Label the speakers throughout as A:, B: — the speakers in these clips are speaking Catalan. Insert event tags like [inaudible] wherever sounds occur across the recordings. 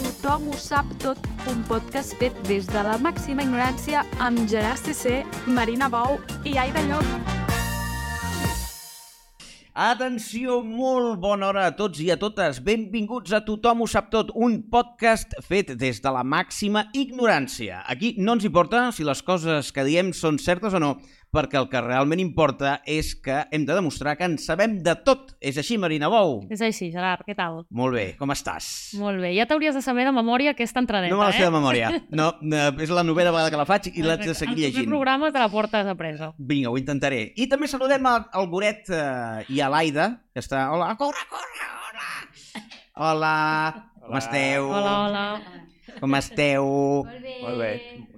A: Tothom ho sap tot, un podcast fet des de la màxima ignorància amb Gerard CC, Marina Bou i Aida Llop.
B: Atenció, molt bona hora a tots i a totes. Benvinguts a Tothom ho sap tot, un podcast fet des de la màxima ignorància. Aquí no ens importa si les coses que diem són certes o no, perquè el que realment importa és que hem de demostrar que en sabem de tot. És així, Marina Bou?
C: És així, Gerard, què tal?
B: Molt bé, com estàs?
C: Molt bé, ja t'hauries de saber de memòria aquesta entradeta,
B: No me la sé
C: eh? Doncs
B: de memòria. No, eh, és la novena vegada que la faig i l'haig de seguir
C: El proper
B: llegint.
C: programa te la portes a presa.
B: Vinga, ho intentaré. I també saludem a- al Goret eh, i a l'Aida, que està... Hola, corre, corre, hola! Hola, com esteu?
C: Hola, hola.
B: Com esteu?
D: Molt bé.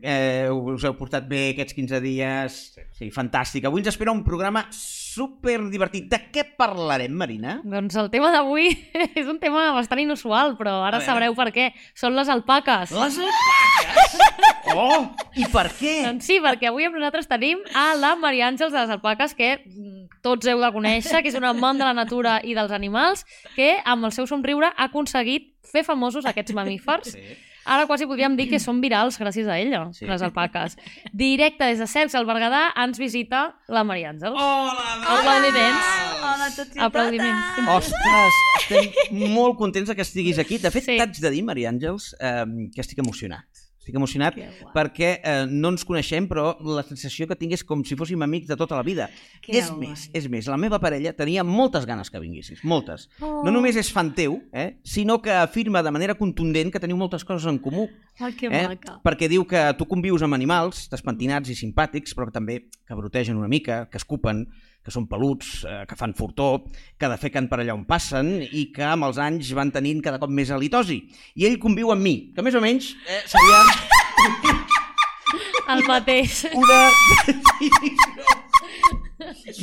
B: Eh, us heu portat bé aquests 15 dies? Sí, fantàstic. Avui ens espera un programa super divertit. De què parlarem, Marina?
C: Doncs el tema d'avui [laughs] és un tema bastant inusual, però
B: A
C: ara
B: veure.
C: sabreu per què. Són les alpaques.
B: Les
C: [laughs]
B: alpaques! Oh, i per què?
C: Doncs sí, perquè avui amb nosaltres tenim a la Maria Àngels de les Alpaques, que mm, tots heu de conèixer, que és una amant de la natura i dels animals, que amb el seu somriure ha aconseguit fer famosos aquests mamífers.
B: Sí.
C: Ara quasi podríem dir que són virals gràcies a ella,
B: Sí.
C: sí. les alpaques. Directe des de Cercs, al Berguedà, ens visita la Maria Àngels.
B: Hola,
C: Hola, Aplaudiments.
D: Hola a tots i a
C: Aplaudiments.
B: Ostres, estem
D: [laughs]
B: molt contents de que estiguis aquí. De fet, sí.
C: Sí.
B: t'haig de dir, Maria Àngels, eh, que estic emocionat. Estic emocionat
D: Que guai.
B: perquè eh, no ens coneixem, però la sensació que tinc és com si fóssim amics de tota la vida.
D: Que
B: és
D: guai.
B: més, és més. La meva parella tenia moltes ganes que vinguessis, moltes.
D: Oh.
B: No només és fan teu, eh, sinó que afirma de manera contundent que teniu moltes coses en comú.
C: Ah,
D: Oh, que
B: Eh?
D: maca.
B: Perquè diu que tu convius amb animals despentinats i simpàtics, però que també que brotegen una mica, que escupen, que són peluts, eh, que fan furtó, que defequen per allà on passen i que amb els anys van tenint cada cop més halitosi. I ell conviu amb mi, que més o menys eh, seria
C: El mateix.
B: una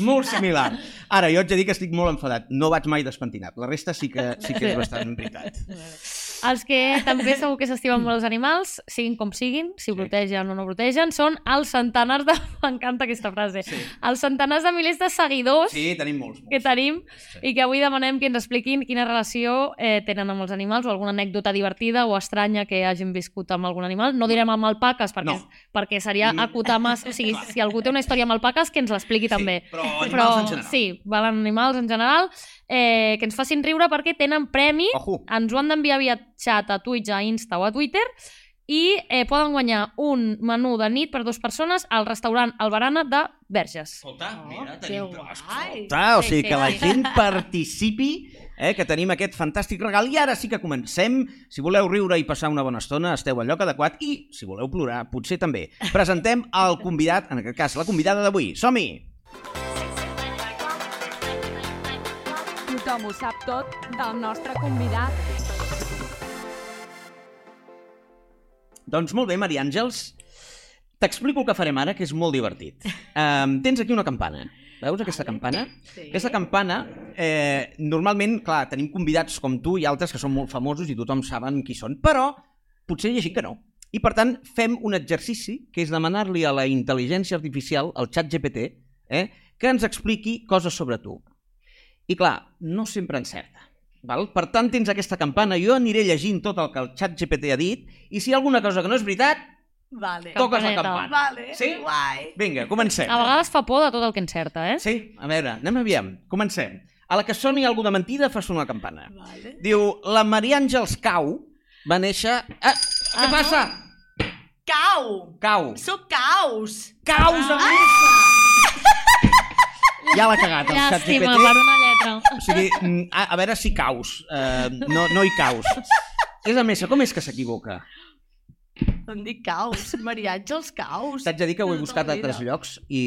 B: molt similar. Ara, jo haig de dir que estic molt enfadat. No vaig mai despentinat. La resta sí que, sí que és bastant veritat.
C: Els que també segur que s'estimen molt els animals, siguin com siguin, si protegen o no protegen, són els centenars de... [laughs] M'encanta aquesta frase.
B: Sí.
C: Els centenars de milers de seguidors
B: Sí, tenim molts. molts.
C: que tenim i que avui demanem que ens expliquin quina relació eh, tenen amb els animals o alguna anècdota divertida o estranya que hagin viscut amb algun animal. No direm amb alpaques perquè,
B: No.
C: perquè seria
B: Mm.
C: acotar massa. O
B: [laughs]
C: sigui, si algú té una història amb alpaques, que ens l'expliqui
B: Sí,
C: també.
B: Però animals en general.
C: Sí, valen animals en general. Eh, que ens facin riure perquè tenen premi
B: Ojo.
C: ens ho han d'enviar via xat a Twitch, a Insta o a Twitter i eh, poden guanyar un menú de nit per dues persones al restaurant Albarana de Verges.
B: Escolta, mira,
D: que
B: tenim...
D: guai.
B: Escolta, o
C: Sí,
B: sigui,
C: sí,
B: que la
C: sí.
B: gent participi, eh, que tenim aquest fantàstic regal. I ara sí que comencem. Si voleu riure i passar una bona estona, esteu al lloc adequat. I, si voleu plorar, potser també. Presentem el convidat, en aquest cas, la convidada d'avui. Som-hi!
A: Tothom ho sap tot del nostre convidat.
B: Doncs molt bé, Maria Àngels. T'explico el que farem ara, que és molt divertit. Um, tens aquí una campana. Veus aquesta campana?
D: Sí.
B: Aquesta campana, eh, normalment, clar, tenim convidats com tu i altres que són molt famosos i tothom saben qui són, però potser hi ha gent que no. I per tant, fem un exercici que és demanar-li a la intel·ligència artificial, al xat GPT, eh, que ens expliqui coses sobre tu. I clar, no sempre encerta. Val? Per tant, tens aquesta campana, jo aniré llegint tot el que el xat GPT ha dit, i si hi ha alguna cosa que no és veritat,
D: Vale.
B: toques la
C: Campaneta.
B: campana.
D: Vale.
B: Sí?
D: Guai.
B: Vinga, comencem.
C: A vegades fa por de tot el que encerta, eh?
B: Sí, a veure, anem aviam. Comencem. A la que soni algú de mentida, fa sonar la campana.
D: Vale.
B: Diu, la Maria Àngels Cau va néixer... Ah, què
C: Ah,
B: passa?
D: Cau.
B: Cau.
D: Sóc caus. Ah!
B: Caus amb Ja l'ha cagat, el xat
C: Llàstima,
B: GPT.
C: per una lletra.
B: O sigui, mm, a, a veure si caus. Uh, no, no hi caus. És a més, com és que s'equivoca?
D: Em dic caus. Maria Àngels caus.
B: T'haig de dir que ho he
D: Tota
B: buscat
D: la
B: a altres
D: vida.
B: llocs i,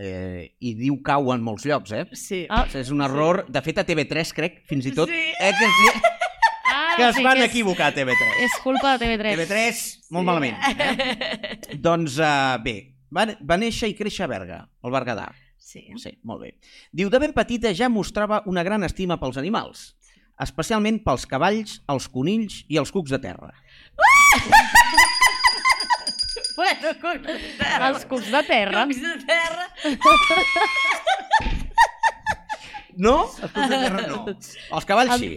B: eh, i diu cau en molts llocs, eh?
D: Sí.
C: Ah,
B: És un error. De fet, a TV3, crec, fins i tot,
D: Sí.
B: eh, que, sí,
C: Ara
B: que es
C: sí
B: van
C: és-
B: equivocar a TV3.
C: És culpa de TV3.
B: TV3, molt malament. Eh? [laughs] doncs uh, bé, va, va néixer i créixer a Berga, al Berguedà.
D: Sí.
B: Sí, molt bé. Diu, de ben petita ja mostrava una gran estima pels animals. especialment pels cavalls, els conills i els cucs de terra.
C: Bueno,
D: [laughs]
C: cucs de terra. Els cucs de terra.
D: Cucs de terra.
B: No? Els cucs de terra [laughs] no. Els cavalls sí.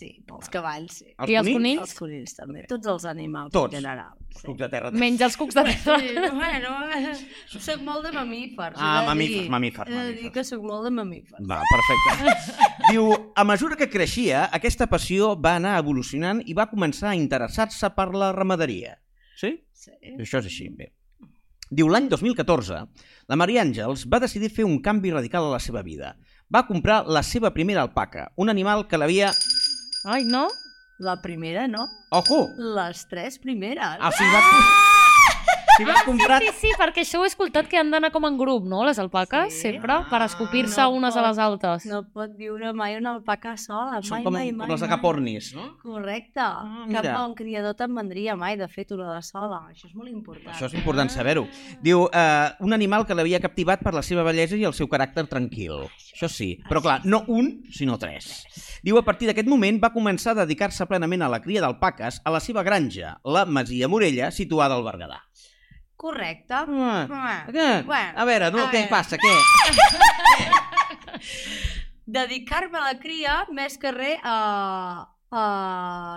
D: Sí, pels cavalls, sí.
B: Els
C: I els
B: conills,
C: conills?
D: Els conills també. Tots els animals
B: Tots.
D: en general.
B: els
D: Sí.
B: cucs de terra.
C: Menys els cucs de terra.
D: Sí, bueno, [laughs] soc molt de mamífers.
B: Ah,
D: he de
B: mamífers,
D: dir.
B: mamífers,
D: He de dir
B: mamífers.
D: que soc molt de mamífers.
B: Va, [laughs] perfecte. Diu, a mesura que creixia, aquesta passió va anar evolucionant i va començar a interessar-se per la ramaderia. Sí?
D: Sí.
B: Això és així, bé. Diu, l'any 2014, la Maria Àngels va decidir fer un canvi radical a la seva vida. Va comprar la seva primera alpaca, un animal que l'havia...
C: Ai, no?
D: La primera, no?
B: Ojo!
D: Les tres primeres.
B: O sigui, va... Si
D: Ah,
B: vas comprar...
C: Sí, sí, perquè això ho he escoltat que han d'anar com en grup, no? Les alpaques,
D: Sí.
C: sempre, per escopir-se
D: Ah, no
C: unes a
D: pot.
C: les altres.
D: No pot viure mai una alpaca sola,
B: Són
D: mai,
B: com,
D: mai, mai.
B: com les
D: mai.
B: agapornis, no?
D: Correcte.
B: Ah,
D: Cap
B: mira.
D: bon criador te'n vendria mai, de fet, una de sola. Això és molt important.
B: Això és important saber-ho. Diu, eh, un animal que l'havia captivat per la seva bellesa i el seu caràcter tranquil. Això sí. Però clar, no un, sinó tres. Diu, a partir d'aquest moment va començar a dedicar-se plenament a la cria d'alpaques a la seva granja, la Masia Morella, situada al Berguedà.
D: Correcte.
B: Ah,
D: Ah,
B: ah,
D: Bueno,
B: a veure, no,
D: a
B: què
D: veure.
B: passa? Què?
D: Dedicar-me a la cria, més que res, a... a...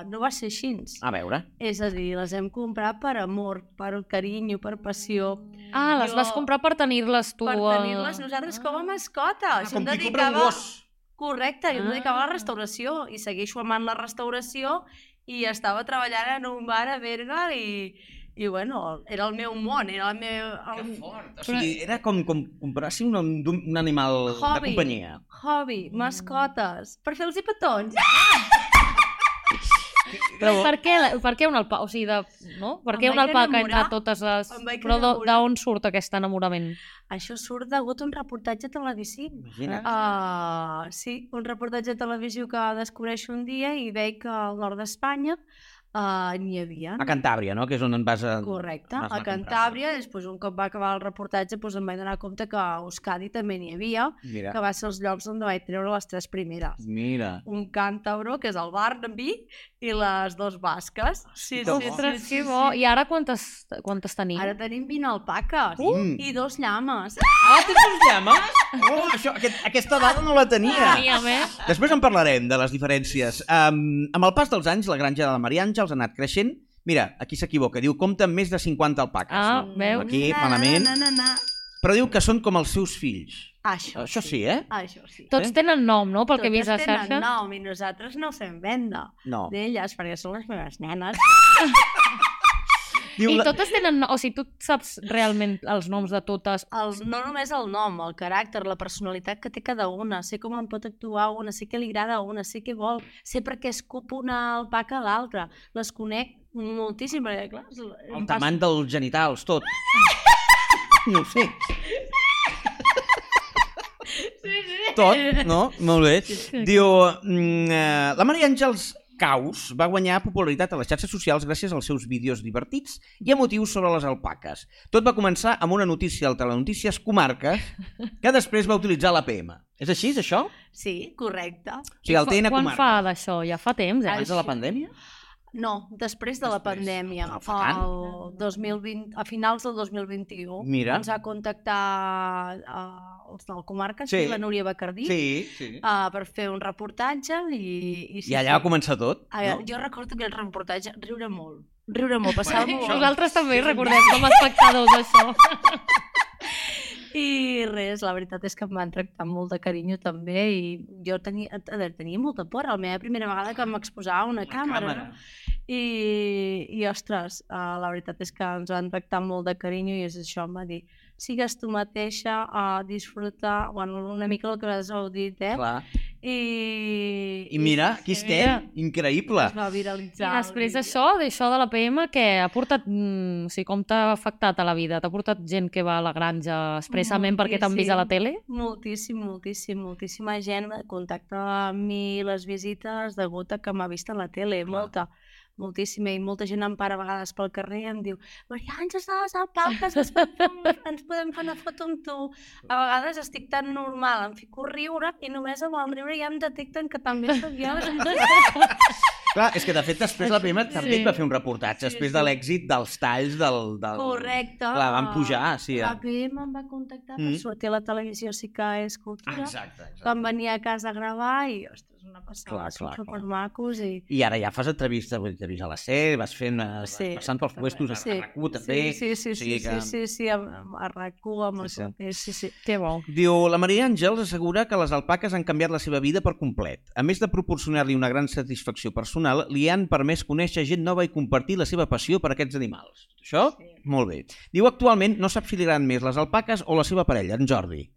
D: no va ser així.
B: A veure.
D: És a dir, les hem comprat per amor, per carinyo, per passió,
C: Ah, les
D: Jo-
C: vas comprar per tenir-les tu. eh.
D: per
C: al-
D: tenir-les nosaltres com a mascota.
B: eh, Ah,
D: Jo
B: com
D: em
B: qui compra un
D: dedicava-
B: gos.
D: Correcte, jo em
C: Ah.
D: dedicava a la restauració i segueixo amant la restauració i estava treballant en un bar a Berga i, i bueno, era el meu món, era el meu el
B: fort. O sigui, era com, com comprarsi un, un, un animal de
D: Hobby.
B: companyia.
D: hobby,
B: Mm.
D: mascotes, per fer els petons.
C: Però per què, la- per què una alpaca? O sigui, de, no? Per
D: Em
C: què una
D: vaig
C: alpaca
D: enamorar.
C: entre totes les...
D: Em vaig
C: Però d'o-
D: enamorar.
C: d'on surt aquest enamorament?
D: Això surt degut a un reportatge televisiu.
B: Imagina't.
D: Uh, sí, un reportatge televisiu que descobreixo un dia i veig que al nord d'Espanya uh, n'hi havia.
B: A Cantàbria, no? Que és on en vas a...
D: Correcte,
B: Vas anar
D: a
B: a comprar.
D: Cantàbria, després un cop va acabar el reportatge doncs em vaig donar compte que a Euskadi també n'hi havia,
B: Mira.
D: que va ser els llocs on vaig treure les tres primeres.
B: Mira.
D: Un càntabro, que és el Barnaby, i les dos basques. Sí,
B: Ah, Que
D: sí,
B: bo.
D: sí,
C: Ostres,
D: sí,
C: que bo. I ara quantes, quantes tenim?
D: Ara tenim 20 alpaques
B: Uh!
D: i dos llames.
B: Ah, tens uns llames? Oh, això, aquest, aquesta dada no la
D: Ah,
B: tenia.
C: Teníem, eh?
B: Després en parlarem, de les diferències. Um, amb el pas dels anys, la granja de la Maria Àngels ha anat creixent. Mira, aquí s'equivoca, diu compta amb més de 50 alpaques.
C: Ah, veus?
B: Aquí, malament.
D: Mm. Na, na, na, na.
B: Però diu que són com els seus fills.
D: Això,
B: Això sí, eh?
D: Això sí.
C: Tots tenen nom, no? Pel que he vist a
D: Totes
C: xarxa.
D: tenen nom i nosaltres no fem venda
B: No.
D: d'elles perquè són les meves nenes.
C: Ah!
B: Diu
C: I
B: la-
C: totes tenen... no- O sigui, tu saps realment els noms de totes.
D: El, no només el nom, el caràcter, la personalitat que té cada una, sé com en pot actuar una, sé què li agrada a una, sé què vol, sé per què escup una alpaca a l'altra, les conec moltíssim, perquè clar... és l- em
B: El
D: passa-
B: tamany dels genitals, tot. No ho sé. Tot, no? Molt bé. Diu, mm, eh, la Maria Àngels Caus va guanyar popularitat a les xarxes socials gràcies als seus vídeos divertits i emotius sobre les alpaques. Tot va començar amb una notícia al Telenotícies Comarca que després va utilitzar l'APM. És així, és això? O
D: Sí, correcte.
B: sigui, el TN
C: Quan
B: Comarca.
C: fa d'això? Ja fa temps, eh?
B: Abans de la pandèmia?
D: No, després de la
B: Després.
D: pandèmia,
B: Ah, fa tant.
D: el 2020, a finals del 2021,
B: Mira.
D: ens va contactar eh, els del comarca,
B: Sí.
D: sí. la Núria Bacardí,
B: Sí, sí.
D: eh, per fer un reportatge i... I, sí,
B: I allà va
D: sí.
B: començar tot.
D: Ah,
B: No?
D: Jo recordo aquell reportatge, riure molt, riure molt, passava molt. bé.
C: Nosaltres també hi recordem com a espectadors això.
D: I res, la veritat és que em van tractar amb molt de carinyo també i jo tenia, a veure, tenia molta por, la meva primera vegada que m'exposava a una càmera. càmera. I, I, ostres, uh, la veritat és que ens van tractar amb molt de carinyo i és això, em va dir, sigues tu mateixa, uh, disfruta, bueno, una mica el que has dit, eh?
B: Clar.
D: I,
B: I mira, aquí
C: Sí, mira.
B: estem. Increïble.
D: es va
C: I
D: viralitzar. el
C: després
D: vídeo.
C: d'això, d'això de la PM, que ha portat... mm, O sigui, com t'ha afectat a la vida? T'ha portat gent que va a la granja expressament perquè t'han vist a la tele?
D: Moltíssim, moltíssim, moltíssima gent contacta amb mi les visites degut a que m'ha vist a la tele,
B: Clar.
D: molta. moltíssima i molta gent em para a vegades pel carrer i em diu Maria Àngels de les Alpaques, ens podem, fer- ens podem fer una foto amb tu. A vegades estic tan normal, em fico a riure i només amb el riure ja em detecten que també soc jo.
B: [laughs]
D: [laughs]
B: Clar, és que de fet després la Prima també
C: Sí.
B: et va fer un reportatge,
D: Sí,
B: després
D: sí.
B: de l'èxit dels talls del... del...
D: Correcte.
B: Clar, van pujar, sí.
D: La
B: Ja.
D: PM em va contactar per
B: Mm.
D: sortir a la televisió, sí que és
B: Ah,
D: cultura.
B: exacte, exacte.
D: Vam venir a casa a gravar i, ostres, una passada,
B: Clar, clar,
D: són
B: clar.
D: supermacos i...
B: I ara ja fas entrevistes, vull dir, entrevistes a la C, vas fent, eh, vas
D: Sí.
B: passant pels puestos a a RAC1 també.
D: Sí, sí, sí,
B: o sigui
D: sí,
B: que-
D: sí, sí, sí, amb- a RAC1, amb
B: Sí, sí.
D: el... Sí, sí, sí.
C: Que bo.
B: Diu, la Maria Àngels assegura que les alpaques han canviat la seva vida per complet. A més de proporcionar-li una gran satisfacció personal, li han permès conèixer gent nova i compartir la seva passió per aquests animals. Això? Sí. Molt bé. Diu, actualment no sap si li agraden més les alpaques o la seva parella, en Jordi.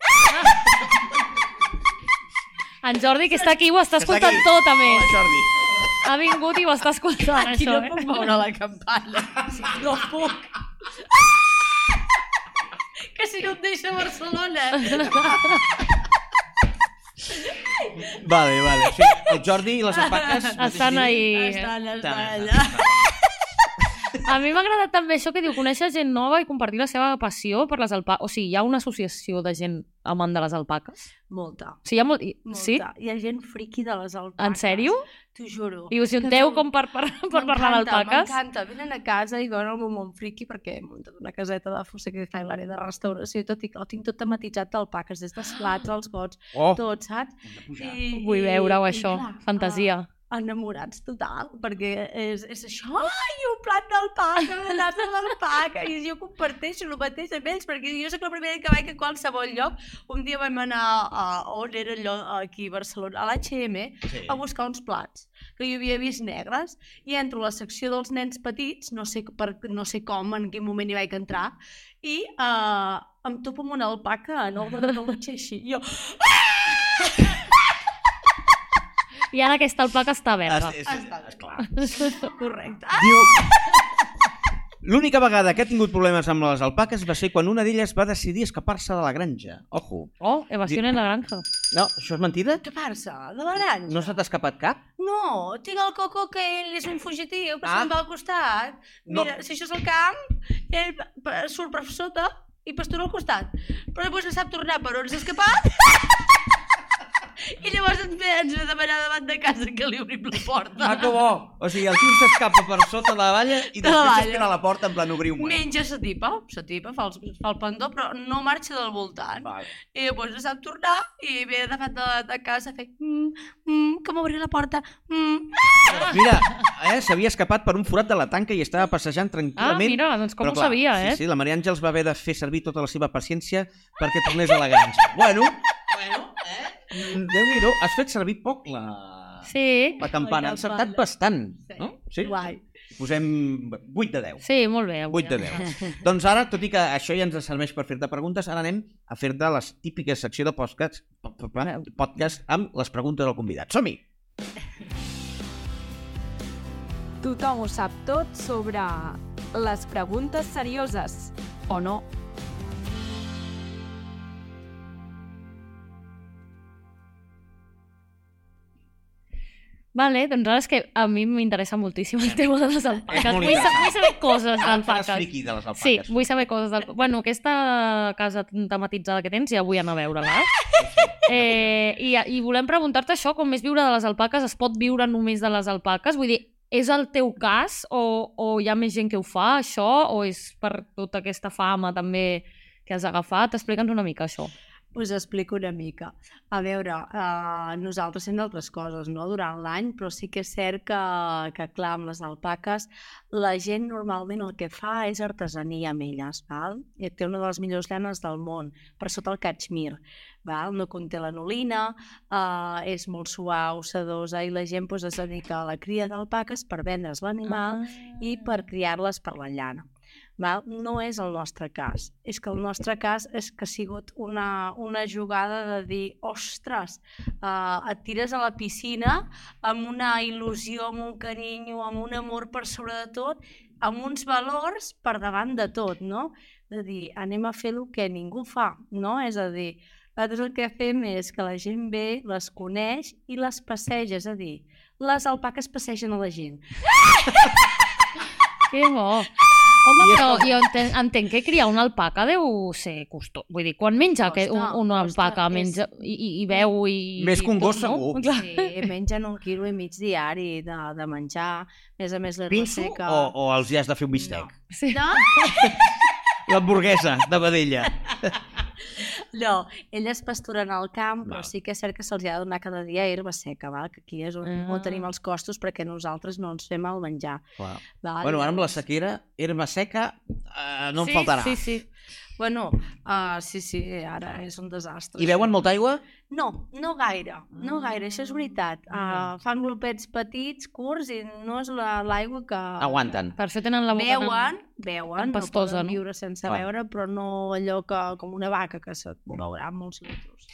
C: En Jordi, que està aquí, ho
B: Que està
C: està escoltant
B: aquí.
C: tot, a més.
B: Jordi.
C: Ha vingut i ho està escoltant,
E: Aquí
C: això,
E: no
C: eh?
E: puc moure la campana. No puc. Que si no em deixa Barcelona.
B: Vale, vale. Sí, el Jordi i les alpaques...
C: [laughs] Estan ahí.
E: Estan, estan
B: Estan
E: allà.
C: A mi m'ha agradat també això que diu conèixer gent nova i compartir la seva passió per les alpaques. O sigui, hi ha una associació de gent amant de les alpaques?
D: [laughs] Molta,
C: O sigui, hi ha molt... i-
D: molta.
C: Sí?
D: Hi ha gent friqui de les alpaques.
C: En sèrio?
D: T'ho juro.
C: I us junteu com per, per, per parlar
D: M'encanta,
C: d'alpaques?
D: M'encanta, venen a casa i veuen el meu món friqui perquè he muntat una caseta de fusta que fa l'àrea de restauració i tot, i ho tinc tot tematitzat d'alpaques, des dels plats, els gots,
B: Oh,
D: tot, saps? I,
C: Vull veure-ho,
D: i- i
C: això.
D: clar,
C: Fantasia.
D: ah, enamorats total, perquè és, és això, ai, un plat d'alpaca, una tassa d'alpaca, i jo comparteixo el mateix amb ells, perquè jo sóc la primera que vaig a qualsevol lloc. Un dia vam anar a, on era allò, aquí a Barcelona, a l'H&M,
B: sí.
D: a buscar uns plats que jo havia vist negres i entro a la secció dels nens petits, no sé, per, no sé com, en quin moment hi vaig entrar, i uh, em topo amb una alpaca en el de la així. I Jo, Ah.
C: I ara aquesta alpaca està verda.
B: Es, es, es, clar.
D: correcte.
B: Ah,
D: ah,
B: Diu... L'única vegada que ha tingut problemes amb les alpaques va ser quan una d'elles va decidir escapar-se de la granja. Ojo.
C: Oh, evasió en la granja.
B: No, això és mentida?
D: Què passa? De la granja?
B: No se t'ha escapat cap?
D: No, tinc el coco que ell és un fugitiu, però
B: Ah.
D: ah. se'n va al costat.
B: No.
D: Mira, si això és el camp, ell pa- surt per sota i pastura al costat. Però després no sap tornar per on s'ha escapat. I llavors ens ve, ens ve a demanar davant de casa que li obrim la porta.
B: Ah, que bo! O sigui, el tio s'escapa per sota la valla i
D: De
B: després
D: la valla.
B: s'espera a la porta en plan obriu-me.
D: Menja sa tipa, sa tipa, fa el, fa el pendó, però no marxa del voltant.
B: Vale.
D: I després no sap tornar i ve davant de, de casa fent... Mm, mm, que m'obri la porta. Mm.
B: Mira, eh, s'havia escapat per un forat de la tanca i estava passejant
C: Ah,
B: tranquil·lament.
C: mira, doncs com
B: Però
C: ho sabia, eh?
B: Sí, sí, la Maria Àngels va haver de fer servir tota la seva paciència perquè tornés a la granja. Bueno, bueno, eh? Déu-n'hi-do, has fet servir poc la...
C: Sí,
B: La campana,
D: La
B: ha encertat bastant, no? Sí?
D: Guai.
B: Posem 8 de 10.
C: sí, molt bé. avui.
B: 8 de
C: [laughs]
B: 10. doncs ara, tot i que això ja ens serveix per fer-te preguntes, ara anem a fer-te les típiques secció de podcast, po- po- podcast amb les preguntes del convidat. Som-hi!
A: Tothom ho sap tot sobre les preguntes serioses, o no?
C: Vale, doncs ara és que a mi m'interessa moltíssim el tema de les alpaques.
B: molt
C: Vull, sa
B: interessant.
C: vull saber coses
B: Ara faràs
C: d'alpaques.
B: friqui de les alpaques.
C: Sí, vull saber coses del... Bueno, aquesta casa tematitzada que tens ja vull anar a veure-la. Eh, i, I volem preguntar-te això, com és viure de les alpaques? Es pot viure només de les alpaques? Vull dir, és el teu cas o, o hi ha més gent que ho fa, això? O és per tota aquesta fama també que has agafat? Explica'ns una mica això.
D: Us explico una mica. A veure, uh, nosaltres fem d'altres coses, no?, durant l'any, però sí que és cert que, que, clar, amb les alpaques, la gent normalment el que fa és artesania amb elles, val? I té una de les millors llanes del món, per sota el catxmir, val? No conté lanolina, uh, és molt suau, sedosa, i la gent pues, es dedica a la cria d'alpaques per vendre's l'animal i per criar-les per la llana. Val? No és el nostre cas. És que el nostre cas és que ha sigut una, una jugada de dir ostres, eh, et tires a la piscina amb una il·lusió, amb un carinyo, amb un amor per sobre de tot, amb uns valors per davant de tot, no? De dir, anem a fer el que ningú fa, no? És a dir, nosaltres el que fem és que la gent ve, les coneix i les passeja, és a dir, les alpaques passegen a la gent.
C: Que bo. Home,
B: I és-
C: però jo entenc, entenc que criar una alpaca deu ser costó. Vull dir, quan menja que un,
D: Costa,
C: una
D: costa,
C: alpaca
D: és-
C: menja i, i, i veu i...
B: Més que un
C: i tot,
B: gos, segur.
C: Clar.
D: Sí, Eh, mengen un quilo i mig diari de, de menjar, a més a més l'herba
B: Pinso
D: seca...
B: o, o els hi has de fer un bistec?
C: Sí.
D: No,
B: L'hamburguesa de
C: [laughs]
B: vedella.
D: no, elles pasturen al camp, però
B: Val.
D: sí que és cert que se'ls hi ha de donar cada dia herba seca, val? que aquí és on,
C: Ah.
D: on tenim els costos perquè nosaltres no ens fem el menjar.
B: Clar.
D: Val?
B: Bueno, ara amb la sequera, herba seca, eh, no en
C: doncs. sí,
B: faltarà.
C: Sí, sí.
D: Bueno, uh, sí, sí, ara és un desastre.
B: I beuen molta aigua?
D: No, no gaire, no gaire, això és veritat. Uh, fan glopets petits, curts, i no és la- l'aigua la, que...
C: Ah.
B: Aguanten.
C: Per això tenen la boca... tan-
D: Veuen, veuen,
C: pastosa,
D: no poden
C: no?
D: viure sense
B: Clar.
D: veure, però no allò que, com una vaca que se't veurà molts litros.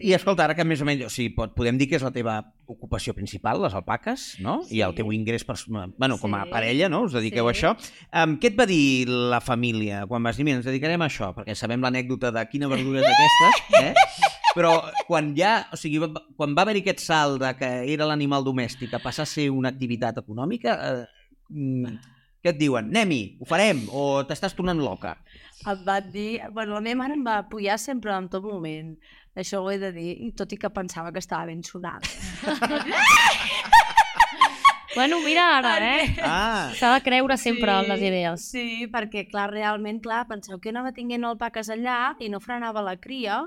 B: I escolta, ara que més o menys, o sigui, pot, podem dir que és la teva ocupació principal, les alpaques, no? I el
D: Sí.
B: teu ingrés per, bueno, com a
D: Sí.
B: parella, no? Us dediqueu
D: Sí.
B: a això. Um, què et va dir la família quan vas dir, mira, ens dedicarem a això? Perquè sabem l'anècdota de quina verdura és aquesta, eh? Però quan ja, o sigui, va- quan va haver-hi aquest salt de que era l'animal domèstic a passar a ser una activitat econòmica, eh, mm,
D: Ah.
B: què et diuen? Anem-hi, ho farem, o t'estàs tornant loca?
D: Em va dir... Bueno, la meva mare em va apoyar sempre en tot moment. Això ho he de dir, i tot i que pensava que estava ben sonada.
C: Bueno, mira ara, eh?
B: Ah,
C: S'ha de creure sempre en les [laughs] idees.
D: Sí, perquè, clar, realment, clar, penseu que anava tinguent alpaques allà i no frenava la cria,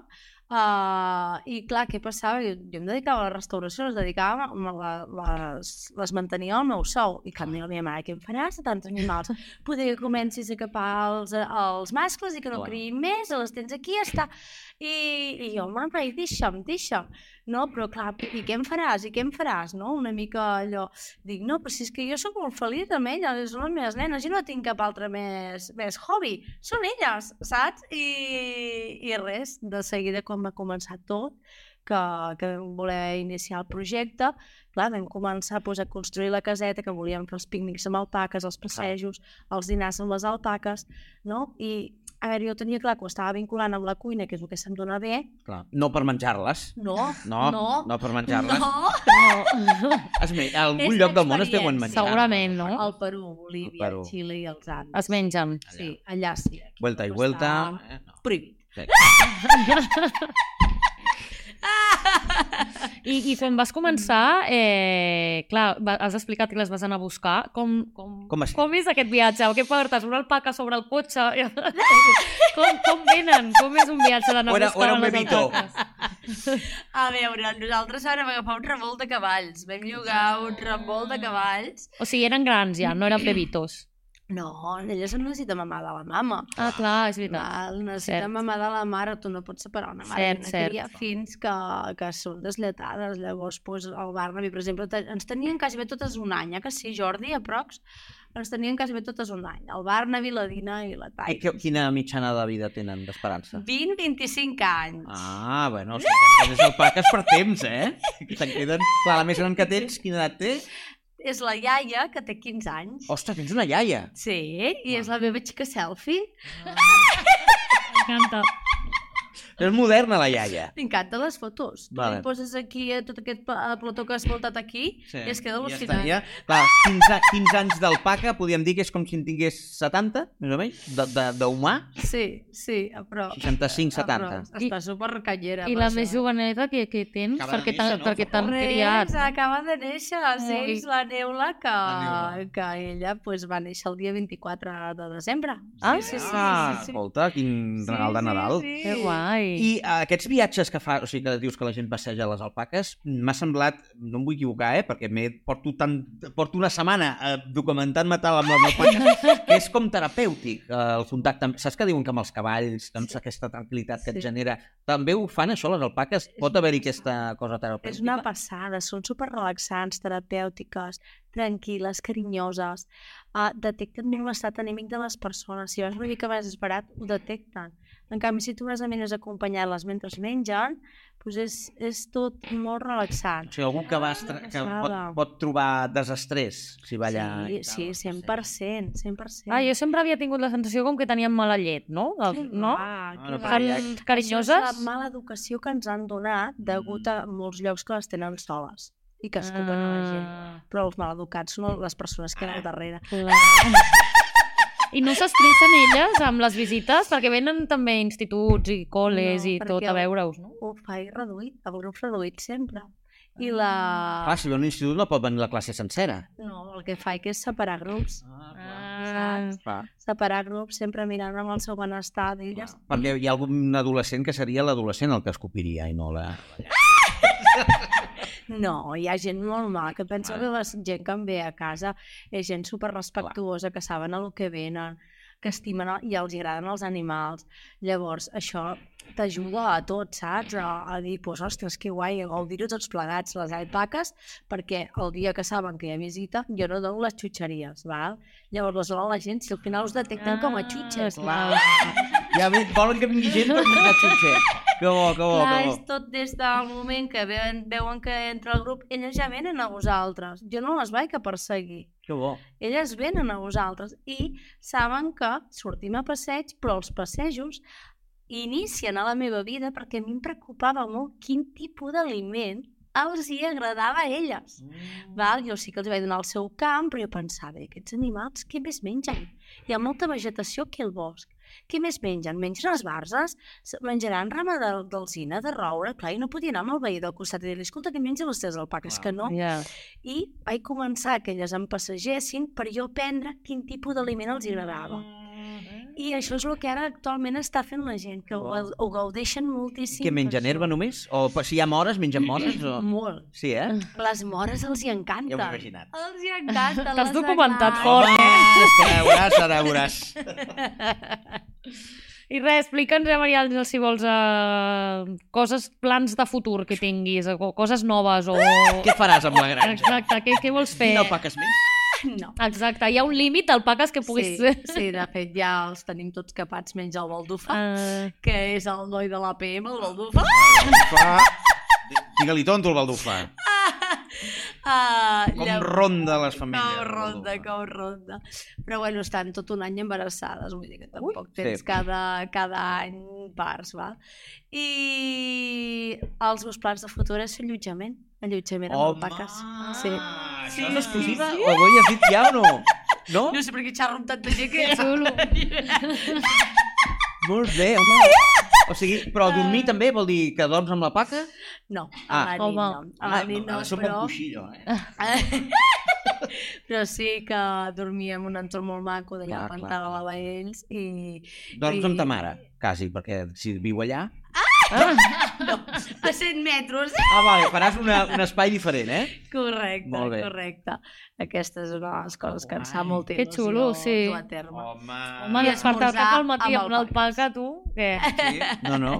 D: Uh, i clar, què passava? Jo, jo em dedicava a la restauració, les dedicava, a la, les, les mantenia al meu sou. I canvi la meva mare, què en faràs de tants animals? Poder que comencis a capar els, els mascles i que no
B: Clar.
D: criïn més, les tens aquí, ja està. I, i jo, mare, i deixa'm, deixa'm. No, però clar, i què en faràs? I què en faràs? No? Una mica allò... Dic, no, però si és que jo sóc molt feliç amb elles, són les meves nenes, jo no tinc cap altre més, més hobby, són elles, saps? I, I res, de seguida quan va començar tot, que, que vam voler iniciar el projecte, clar, vam començar pues, a construir la caseta, que volíem fer els pícnics amb alpaques, els passejos, els dinars amb les alpaques, no? I, a veure, jo tenia clar que ho estava vinculant amb la cuina, que és el que se'm dona bé,
B: clar, no per menjar-les.
D: no,
B: No,
D: No.
B: no per menjar-les.
D: no,
C: No.
B: Es me... a algun
D: És
B: lloc del món es deuen
D: experiència.
B: menjar.
C: Segurament, no?
D: al Perú, Bolívia,
B: Perú.
D: Xile i els Andes.
C: Es mengen.
D: Sí, allà sí. Aquí
B: Vuelta i
D: no Ah!
B: vuelta.
D: Està
B: Eh, no.
D: prohibit.
C: I, I quan vas començar, eh, clar, va- has explicat que les vas anar a buscar. Com, com,
B: Com va ser?
C: com és aquest viatge? O què portes? Una alpaca sobre el [laughs] cotxe? com, com venen? Com és un viatge d'anar
B: O
C: a
B: era-
C: buscar
B: o era un
C: les
B: bebito.
C: alpaques?
E: A veure, nosaltres ara vam agafar un revolt de cavalls. Vam llogar un revolt de cavalls.
C: O sigui, eren grans ja, no eren bebitos.
D: No, ella se necessita mamar de la mama.
C: Ah, clar, és veritat.
D: Val, necessita
C: Cert.
D: mamar de la mare, tu no pots separar una mare
C: Cert,
D: i una
C: cert.
D: cria fins que, que són deslletades. Llavors, doncs, el Barnaby, per exemple, te- ens tenien quasi bé totes un any, eh? que sí, Jordi, aprox? Ens tenien quasi bé totes un any. El Barnaby, la Dina i la
B: Ai,
D: Tai.
B: que- quina mitjana de vida tenen
D: Mm.
B: d'esperança?
D: 20-25 anys.
B: Ah, bueno, o sigui, que tens alpaques per temps, eh? Que Te'n queden... Clar, la més gran que tens, quina edat té?
D: És la iaia, que té 15 anys.
B: Ostres, tens una iaia.
D: Sí, i és la meva xica selfie.
C: M'encanta.
B: És moderna, la iaia.
D: M'encanta les fotos. Tu
B: Vale.
D: li poses aquí a tot aquest pa- a plató que has voltat aquí sí. i es
B: està,
D: queda al·lucinant.
B: ja. Clar, 15, a- 15 anys d'alpaca, podíem dir que és com si en tingués 70, més o menys, de- de- d'humà,
D: Sí, sí, a prop.
B: 65, 70.
D: Ah, Però està supercanyera.
C: I la més joveneta que, que tens?
B: Acaba de
C: perquè
B: néixer,
C: t'han-
B: no?
C: perquè t'han
D: Res,
C: criat.
D: acaba de néixer, sí,
C: Ui.
D: és la Neula que,
B: La Neula.
D: que ella pues, va néixer el dia 24 de desembre.
C: Ah,
D: sí, sí,
B: Ah,
D: sí, sí.
B: escolta, quin regal de Nadal.
D: Sí,
C: Que
D: sí.
C: guai.
B: I eh, aquests viatges que fa, o sigui, que dius que la gent passeja les alpaques, m'ha semblat, no em vull equivocar, eh, perquè m'he porto, tant, porto una setmana eh, documentant-me tal amb les alpaques, que és com terapèutic eh, el contacte. amb- Saps que diuen que amb els cavalls, doncs aquesta tranquil·litat que et
D: Sí.
B: genera, també ho fan això les alpaques? Pot haver-hi aquesta cosa terapèutica?
D: És una passada, són super relaxants, terapèutiques, tranquil·les, carinyoses. Uh, detecten molt l'estat anímic de les persones. Si vas una mica més esperat, ho detecten. En canvi, si tu vas a menys acompanyar-les mentre mengen, doncs és, és tot molt relaxant.
B: O sigui, algú que, va estra... que pot,
D: Passada.
B: pot trobar desestrès si va allà. i tal,
D: sí, sí,
B: no sé.
D: 100%, 100%.
C: Ah, jo sempre havia tingut la sensació com que tenien mala llet, no?
D: Que
C: El, no?
D: va,
B: No,
D: que
B: no, però ja-
D: va.
C: Fan
D: Això és la
C: carinyoses?
D: mala educació que ens han donat degut a molts llocs que les tenen soles. i que escupen a la
C: Ah.
D: gent. Però els maleducats són les persones que hi ha al darrere.
C: Ah. I no s'estressen elles amb les visites? Perquè venen també instituts i col·les
D: No,
C: i tot
D: perquè-
C: a veure-us, no?
D: Ho faig reduït, a grups reduïts sempre. I la...
B: Ah, si ve a un institut no pot venir la classe sencera.
D: No, el que faig és separar grups.
C: Ah,
B: Clar.
D: Separar grups, sempre mirant amb el seu
B: Clar.
D: benestar d'elles.
B: Perquè hi ha algun adolescent que seria l'adolescent el que escopiria i no la...
E: Mm.
D: No, hi ha gent molt mala, que pensa que la gent que em ve a casa és gent super respectuosa, que saben el que venen, que estimen el, i els agraden els animals. Llavors, això t'ajuda a tot, saps? A, a dir, pues, ostres, que guai, a gaudir-ho tots plegats, les alpaques, perquè el dia que saben que hi ha visita, jo no dono les xutxeries, val? Llavors, les dona la gent, si al final us detecten com
E: Ah,
D: a xutxes, val?
C: Ah,
B: Ja ve, volen que vingui gent per menjar xutxet. Que bo, que bo,
E: Clar,
B: que bo.
E: és tot des del moment que veuen, veuen que entra el grup, elles ja venen a vosaltres. Jo no les vaig a perseguir.
B: Que bo.
E: Elles venen a vosaltres i saben que sortim a passeig, però els passejos inicien a la meva vida perquè a mi em preocupava molt quin tipus d'aliment els hi agradava a elles. Val? Jo sí que els vaig donar el seu camp, però jo pensava, "I aquests animals, què més mengen? Hi ha molta vegetació aquí al bosc. Què més mengen? Mengen les barses? S- Menjaran rama de- d'alzina, de, roure? Clar, jo no podia anar amb el veí del costat i dir-li, escolta, que menja vostès alpaques, que no.
C: Ja.
E: I vaig començar que elles em passegessin per jo aprendre quin tipus d'aliment els agradava.
D: Mm-hmm.
E: I això és el que ara actualment està fent la gent, que ho, ho gaudeixen moltíssim.
B: Què mengen,
E: per això.
B: herba només? O per- si hi ha mores, mengen mores? O...
D: Mm.
E: Molt.
B: Sí, eh?
E: Les mores els hi
B: Ja m'ho he
E: encanten.
B: imaginat. Ah,
E: Els hi encanta. les
C: T'has documentat
E: agrada.
C: fort, eh?
B: És que ara veuràs, ara veuràs.
C: I res, explica'ns, eh, Maria Àngel, si vols, eh, coses, plans de futur que tinguis, o coses noves, o...
B: Què faràs amb la granja?
C: Exacte, què, què vols fer?
B: No paques més?
D: No.
C: Exacte, hi ha un límit d'alpaques que puguis...
D: Sí, sí, de fet, ja els tenim tots capats, menys el Baldufa,
C: Eh,
B: Ah.
D: que és el noi de l'APM, el Baldufa.
B: Fa... Digue-li tonto el baldufa.
D: Ah,
B: Com
D: llavors-
B: ronda les famílies.
D: Cau
B: el
D: ronda,
B: baldufa.
D: cau ronda. Però bueno, estan tot un any embarassades, vull dir que tampoc Ui,
B: sí.
D: tens cada, cada any parts, va? I els meus plans de futur és fer allotjament, allotjament amb alpaques. Sí.
B: Això és exclusiva? Sí. Ho havies dit ja o no? No?
D: No sé per què xerro amb tanta gent que...
B: Molt bé, home. O sigui, però dormir també vol dir que dorms amb la paca?
D: No,
B: Ah.
D: a la nit no. A la nit no,
B: sopa
D: però...
B: amb coixillo, eh?
D: [laughs] Però sí que dormia en un entorn molt maco
B: Clar,
D: d'allà a
B: clar.
D: Pantala la Baells i...
B: Dorms amb
D: i-
B: ta mare, quasi, perquè si viu allà...
D: A 100 metres!
B: Ah, vale, faràs una, un espai diferent, eh?
D: Correcte,
B: Molt bé.
D: correcte. Aquesta és una de les coses que ens fa
B: Guai.
D: molta
C: Que
D: il·lusió
C: xulo, sí.
D: dur a terme.
B: Home...
C: Home,
D: I
C: despertar al
D: esmorzar
C: cap al matí amb
D: amb
C: una alpaca, tu, què?
B: Sí. No, no.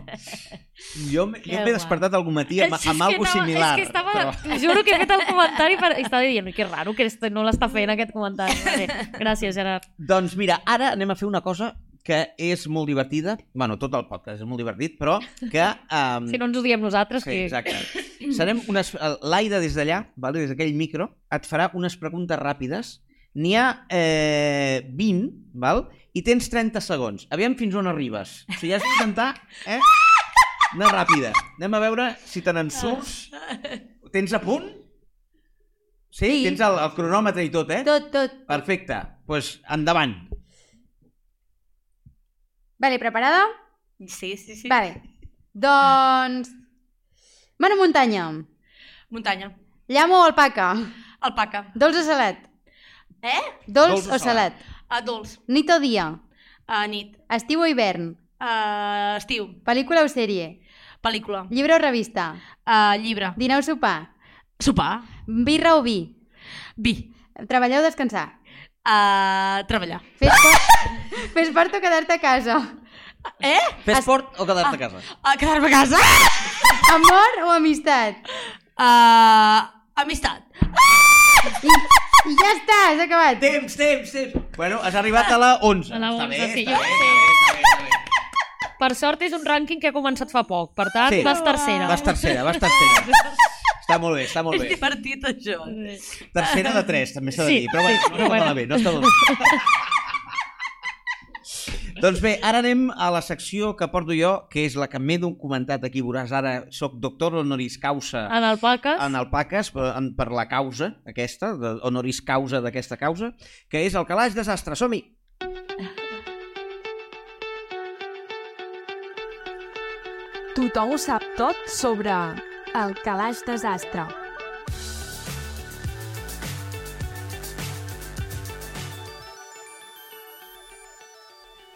B: Jo, m- jo
C: Que
B: m'he
C: guai.
B: despertat algun matí
C: [laughs]
B: amb,
C: És que
B: amb alguna
C: no,
B: cosa similar.
C: És que estava...
B: però...
C: Però... Juro que he fet el comentari per... i estava dient, "Ui, que raro que este, no l'està fent aquest comentari. Vale. Gràcies, Gerard.
B: Doncs mira, ara anem a fer una cosa que és molt divertida, bueno, tot el podcast és molt divertit, però que... [laughs] Um,
C: Si no ens ho diem nosaltres,
B: Sí,
C: que...
B: exacte.
C: [clears throat]
B: Serem unes... eh, L'Aida des d'allà, vale? des d'aquell micro, et farà unes preguntes ràpides. N'hi ha eh, 20, val? i tens 30 segons. Aviam fins on arribes. O sigui, has d'intentar eh? anar ràpida. Anem a veure si te n'ensurts. Ho Tens a punt? Sí?
E: Sí.
B: Tens el, el cronòmetre i tot, eh?
E: Tot, tot.
B: Perfecte. Doncs pues, endavant.
F: Vale, preparada?
D: Sí, sí, sí.
F: Vale. Doncs... Mano muntanya.
D: Muntanya.
F: Llamo o alpaca.
D: Alpaca.
F: Dolç o salat.
D: Eh?
F: Dolç,
B: Dolç o
F: o salat.
D: A dolç.
F: Nit o dia.
D: A Eh, nit.
F: Estiu o hivern.
D: A estiu.
F: Pel·lícula o sèrie.
D: Pel·lícula.
F: Llibre o revista.
D: A llibre.
F: Dinar o sopar.
D: Sopar.
F: Birra o vi.
D: Vi.
F: Treballar o descansar.
D: A treballar.
F: Fes, por... Fes part o quedar-te a casa.
B: Fes esport o quedar-te a
C: Ah.
B: casa?
D: A Eh, quedar-me a casa.
F: Amor o amistat.
D: A Eh, amistat.
F: I, i ja està, s'ha acabat.
B: Temps, temps, temps. Bueno, has arribat a la 11.
C: A la
B: Està bé,
C: 11, sí,
B: està
C: jo
B: bé,
C: sí.
B: està bé, està bé, està bé.
C: Per sort és un rànquing que ha començat fa poc, per tant,
B: Sí.
C: sí. Ah, vas tercera.
B: Vas tercera, vas
C: [laughs]
B: tercera. Està molt bé, està molt bé.
D: Divertit, això.
B: Tercera de tres, també s'ha de
C: Sí, [laughs]
B: dir. Però bueno,
C: sí,
B: no està
C: bueno.
B: malament, no està malament. Doncs bé, ara anem a la secció que porto jo, que és la que m'he documentat aquí, veuràs, ara soc doctor honoris causa
C: En Ah, alpaques.
B: en alpaques per, en, per la causa aquesta, de, honoris causa d'aquesta causa, que és el calaix desastre. Som-hi!
A: Tothom ho sap tot sobre el calaix desastre.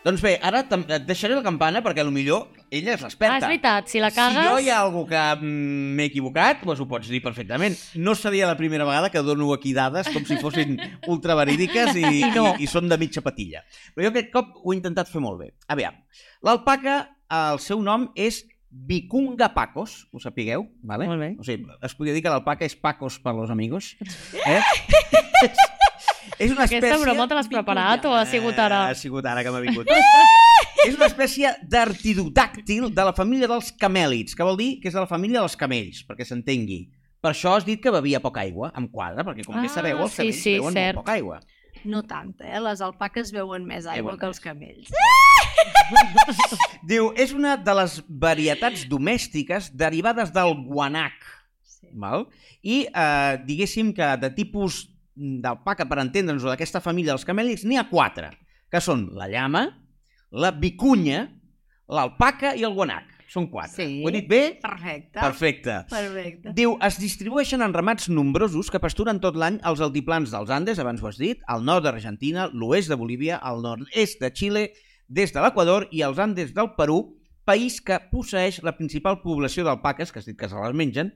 B: Doncs bé, ara te'n- et deixaré la campana perquè a lo millor ella és
C: Ah,
B: l'experta.
C: és veritat, si la
B: Si
C: cagues...
B: jo hi ha algú que mm, m'he equivocat, doncs ho pots dir perfectament. No seria la primera vegada que dono aquí dades com si fossin ultraverídiques i, I, no. i, i són de mitja patilla. Però jo aquest cop ho he intentat fer molt bé. A veure, l'alpaca, eh, el seu nom és Vicunga Pacos, ho sapigueu, vale?
C: Molt bé.
B: O sigui, es podria dir que l'alpaca és Pacos per los amigos. Eh? [laughs] és una espècie...
C: Aquesta broma te l'has preparat o ha sigut ara?
B: Eh, Ha sigut ara que m'ha vingut. és una espècie d'artidodàctil de la família dels camèlids, que vol dir que és de la família dels camells, perquè s'entengui. Per això has dit que bevia poca aigua, em quadra, perquè com bé
C: Ah,
B: sabeu, els
C: sí,
B: camells
C: sí,
B: beuen
C: cert.
B: molt poca aigua.
D: No tant, eh? Les alpaques veuen més aigua
B: Veuen
D: que els camells.
B: Diu, és una de les varietats domèstiques derivades del guanac,
D: Sí.
B: val? i eh, diguéssim que de tipus d'alpaca, per entendre'ns, o d'aquesta família dels camèlids, n'hi ha quatre, que són la llama, la vicunya, l'alpaca i el guanac. Són quatre.
F: Sí.
B: Ho he dit bé?
D: Perfecte.
B: Perfecte.
D: Perfecte.
B: Diu, es distribueixen en ramats nombrosos que pasturen tot l'any als altiplans dels Andes, abans ho has dit, al nord d'Argentina, l'oest de Bolívia, al nord-est de Xile, des de l'Equador i als Andes del Perú, país que posseeix la principal població d'alpaques, que has dit que se les mengen,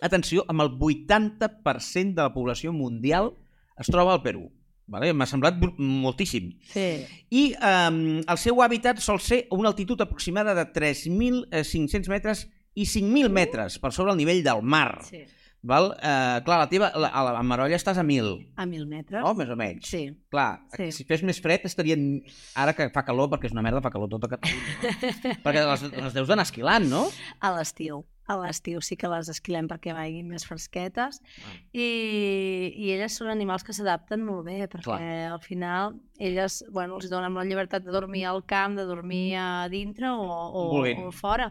B: atenció, amb el 80% de la població mundial es troba al Perú. Vale? M'ha semblat bru- moltíssim.
C: Sí.
B: I eh, el seu hàbitat sol ser a una altitud aproximada de 3.500 metres i 5.000 metres per sobre el nivell del mar.
D: Sí.
B: Val? Eh, clar, la teva, la, a la a Marolla estàs a 1.000,
D: A mil metres.
B: no? Més o menys.
D: Sí.
B: Clar,
D: Sí.
B: si fes més fred estarien... Ara que fa calor, perquè és una merda, fa calor tota Catalunya. No?
D: [laughs]
B: perquè les, les deus d'anar esquilant, no?
D: A l'estiu. A l'estiu sí que les esquilem perquè vagin més fresquetes. I, I elles són animals que s'adapten molt bé, perquè
B: Clar.
D: al final elles bueno, els donen la llibertat de dormir al camp, de dormir a dintre o, o,
B: Vulguin.
D: o fora.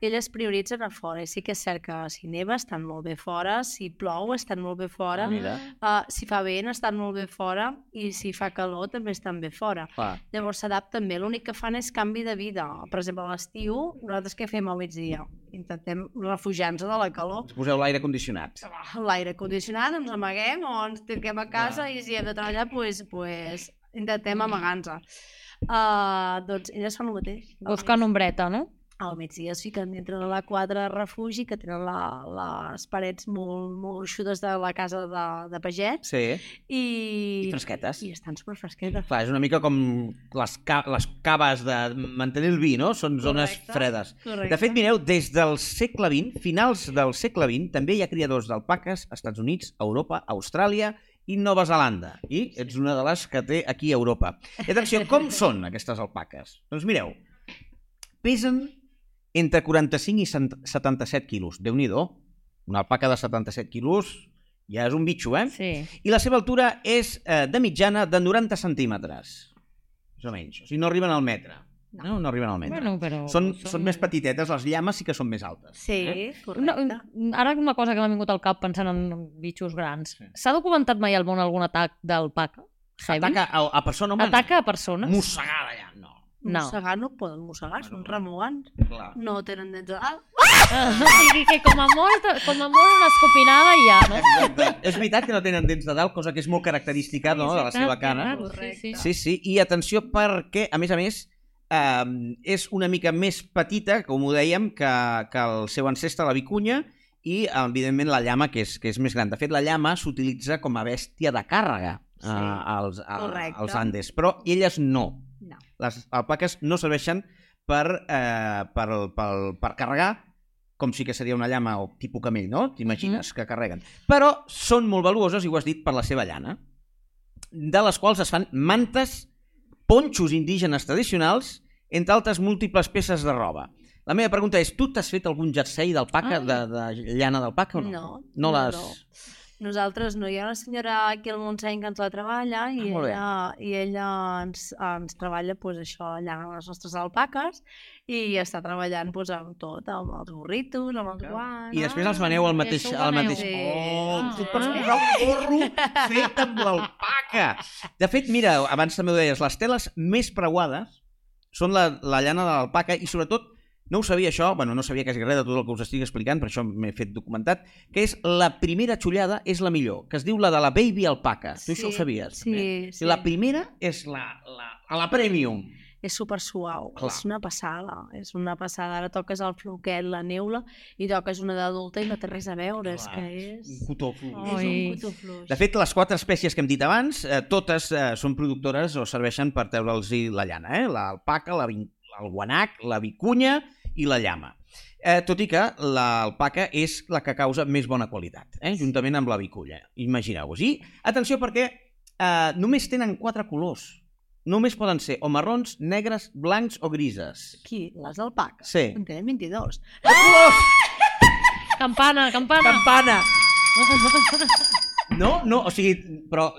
D: Elles prioritzen a fora i sí que és cert que si neva estan molt bé fora, si plou estan molt bé fora,
B: Ah, Mira,
D: uh, si fa vent estan molt bé fora i si fa calor també estan bé fora.
B: clar.
D: Llavors s'adapten bé, l'únic que fan és canvi de vida. Per exemple, a l'estiu, nosaltres què fem al migdia? Intentem refugiar-nos de la calor.
B: Us poseu l'aire condicionat.
D: L'aire condicionat, ens amaguem o ens tanquem a casa i si hem de treballar, pues, pues, intentem amagar-nos. Uh, doncs elles fan el mateix. Al
C: Buscant ombreta, no?
D: al migdia es fiquen dintre de la quadra de refugi que tenen la, les parets molt, molt eixudes de la casa de, de pagets
B: Sí.
D: i,
B: I fresquetes.
D: i estan superfresquetes.
B: Clar, és una mica com les, ca les caves de mantenir el vi, no? Són zones
D: Correcte.
B: fredes.
D: Correcte.
B: De fet, mireu, des del segle XX, finals del segle XX, també hi ha criadors d'alpaques a Estats Units, Europa, Austràlia i Nova Zelanda. I ets una de les que té aquí a Europa. I atenció, com
D: [laughs]
B: són aquestes alpaques? Doncs mireu, pesen entre 45 i 77 quilos. déu nhi Una alpaca de 77 quilos ja és un bitxo, eh?
C: Sí.
B: i la seva altura és eh, de mitjana de 90 centímetres, més o menys. O sigui, no arriben al metre. No, no, arriben al metre.
C: Bueno, però...
B: són, són... són més petitetes, les llames sí que són més altes.
D: Sí,
C: Una,
D: correcte.
C: mm, ara una cosa que m'ha vingut al cap pensant en bitxos grans. S'ha documentat mai al món algun atac d'alpaca? Heavy?
B: Ataca a, a persona humana.
C: Ataca a persones?
B: Mossegada ja, no.
C: No.
D: Mossegar no poden mossegar, són remugants.
B: Clar. [laughs]
D: No tenen dents de dalt.
C: Ah, [laughs] o sigui que com a molt, com a molt una escopinada i ja, no?
B: Exacte. és veritat que no tenen dents de dalt, cosa que és molt característica no, de la seva cara.
C: Sí, sí.
B: Sí, sí, i atenció perquè, a més a més, eh, és una mica més petita, com ho dèiem, que, que el seu ancestre, la vicunya, i, evidentment, la llama, que és, que és més gran. De fet, la llama s'utilitza com a bèstia de càrrega eh,
D: Sí,
B: als, a,
D: correcte.
B: als Andes, però elles no.
D: No.
B: Les alpaques no serveixen per, eh, per, per, per carregar, com sí que seria una llama o tipus camell, no? T'imagines que carreguen. Però són molt valuoses, i ho has dit, per la seva llana de les quals es fan mantes, ponxos indígenes tradicionals, entre altres múltiples peces de roba. La meva pregunta és, tu t'has fet algun jersei d'alpaca, de, de llana d'alpaca o no?
D: No,
B: No
D: no,
B: l'has...
D: no. Nosaltres no, hi ha una senyora aquí al Montseny que ens la treballa i
B: Ah, molt bé.
D: ella, i ella ens, ens treballa pues, això allà amb les nostres alpaques i està treballant pues, amb tot, amb els burritos, amb els guants...
B: I després els veneu al
C: i
B: mateix...
C: això ho
B: Al
C: veneu.
B: mateix...
C: Sí.
B: Oh,
C: Ah.
B: tu et pots posar un gorro fet amb l'alpaca. De fet, mira, abans també ho deies, les teles més preuades són la, la llana de l'alpaca i sobretot, no ho sabia això, bueno, no sabia quasi res de tot el que us estic explicant, per això m'he fet documentat, que és la primera xullada és la millor, que es diu la de la baby alpaca. Tu això ho sabies?
D: Sí,
B: també?
D: sí.
B: La primera és la, la, a la premium.
D: és super suau,
B: Clar.
D: és una passada, és una passada. Ara toques el floquet, la neula, i toques una d'adulta i no té res a veure, és
B: Clar,
D: que
B: Un
D: és...
B: cotó fluix.
C: Ui.
D: És un cuto
B: De fet, les quatre espècies que hem dit abans, eh, totes eh, són productores o serveixen per treure'ls la llana, eh? l'alpaca, la vin- el guanac, la vicunya i la llama. Eh, tot i que l'alpaca és la que causa més bona qualitat, eh? juntament amb la viculla. Imagineu-vos. I atenció perquè eh, només tenen quatre colors. Només poden ser o marrons, negres, blancs o grises.
D: Qui? Les alpaques.
B: Sí.
D: En tenen 22.
C: Campana, campana.
D: Campana!
B: No, no, o sigui, però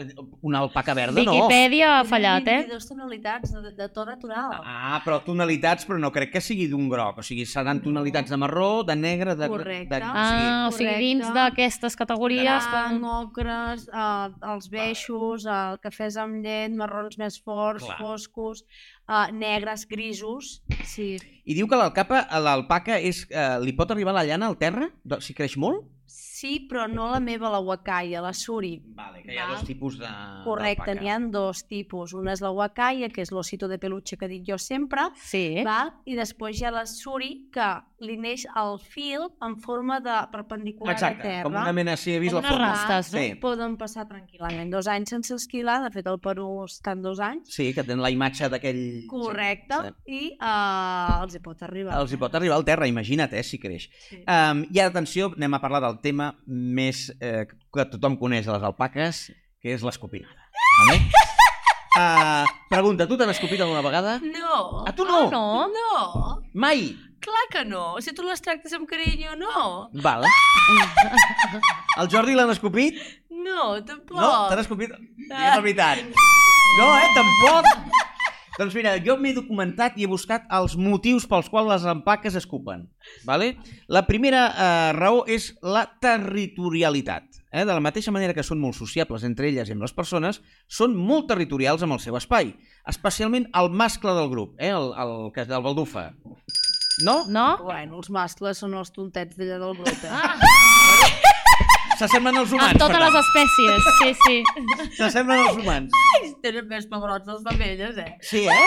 B: una alpaca verda no.
C: Wikipedia ha fallat, eh?
D: 22 tonalitats de, de to natural.
B: Ah, però tonalitats, però no crec que sigui d'un groc. O sigui, seran tonalitats de marró, de negre, de...
D: Correcte.
B: De, o sigui,
C: Ah, o sigui, dins
D: Correcte.
C: d'aquestes categories...
D: Blanc, ocres, eh, els beixos, eh, cafès amb llet, marrons més forts,
B: Clar.
D: foscos, eh, negres, grisos... Sí,
B: I diu que l'alcapa, l'alpaca, és, eh, li pot arribar la llana al terra? Do- Si creix molt?
D: sí però no la meva, la wakaia, la suri.
B: Vale,
D: que hi ha Val. dos
B: tipus de...
D: Correcte, n'hi ha dos tipus. Una és la wakaia, que és l'osito de peluche que dic jo sempre,
B: Eh?
C: Sí.
D: val? i després hi ha la suri, que li neix el fil en forma de perpendicular a
B: Exacte,
D: terra.
B: com una mena, sí, he vist la
C: Com unes
B: forma.
C: rastes, no?
B: sí.
D: Poden passar tranquil·lament dos anys sense esquilar, de fet el Perú estan dos anys,
B: Sí, que tenen la imatge d'aquell...
D: correcte,
B: Sí.
D: i uh, els hi pot arribar.
B: Els hi pot arribar al terra, imagina't, eh, si creix.
D: Sí.
B: Um, I ara, atenció, anem a parlar del tema més eh, que tothom coneix a les alpaques, que és l'escopinada. Vale? Uh, pregunta, tu t'han escopit alguna vegada?
G: No,
B: A tu no?
C: Ah, no?
G: no,
B: Mai!
G: clar que no. Si tu les tractes amb carinyo, no.
B: Val. El Jordi l'han escopit?
G: No, tampoc.
B: No, t'han escopit?
C: Ah.
B: És la veritat. No, eh?
C: [laughs]
B: Tampoc! Doncs mira, jo m'he documentat i he buscat els motius pels quals les empaques escupen. Vale? La primera eh, raó és la territorialitat. Eh? De la mateixa manera que són molt sociables entre elles i amb les persones, són molt territorials amb el seu espai, especialment el mascle del grup, eh? el, el, el, el baldufa. No?
C: No?
D: Bueno, els mascles són els tontets d'allà del grup. Eh?
B: S'assemblen als humans.
C: En totes
B: per tant.
C: les espècies, sí, sí.
B: S'assemblen als humans.
G: Tenen més pebrots les femelles, eh?
B: Sí,
C: [laughs]
B: eh?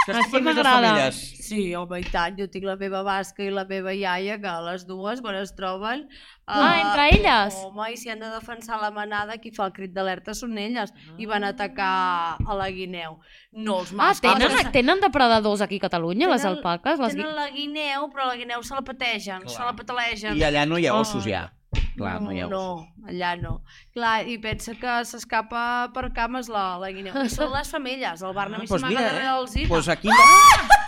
C: Així
B: S'escupen més les
C: m'agrada.
B: femelles.
D: Sí, home, i tant, jo tinc la meva basca i la meva iaia, que les dues, quan es troben... eh,
C: Ah, entre elles?
D: Home, i si han de defensar la manada, qui fa el crit d'alerta són elles, i van atacar a la guineu. No els
C: Ah,
D: mascles...
C: tenen, tenen depredadors aquí a Catalunya, les
D: Tenen-
C: alpaques? Les... gui-
D: Tenen la guineu, però la guineu se la pategen,
B: Clar.
D: se la patalegen.
B: I allà no hi ha
G: Oh.
B: ossos, ja. Clar, no, hi ha
D: no,
B: ossos.
D: allà no. Clar, i pensa que s'escapa per cames la, la guineu. I són les femelles, el Barnum
B: Ah,
D: ah,
B: doncs
D: s'amaga
B: mira,
D: darrere
B: eh?
D: del zip.
B: Doncs aquí...
G: Ah!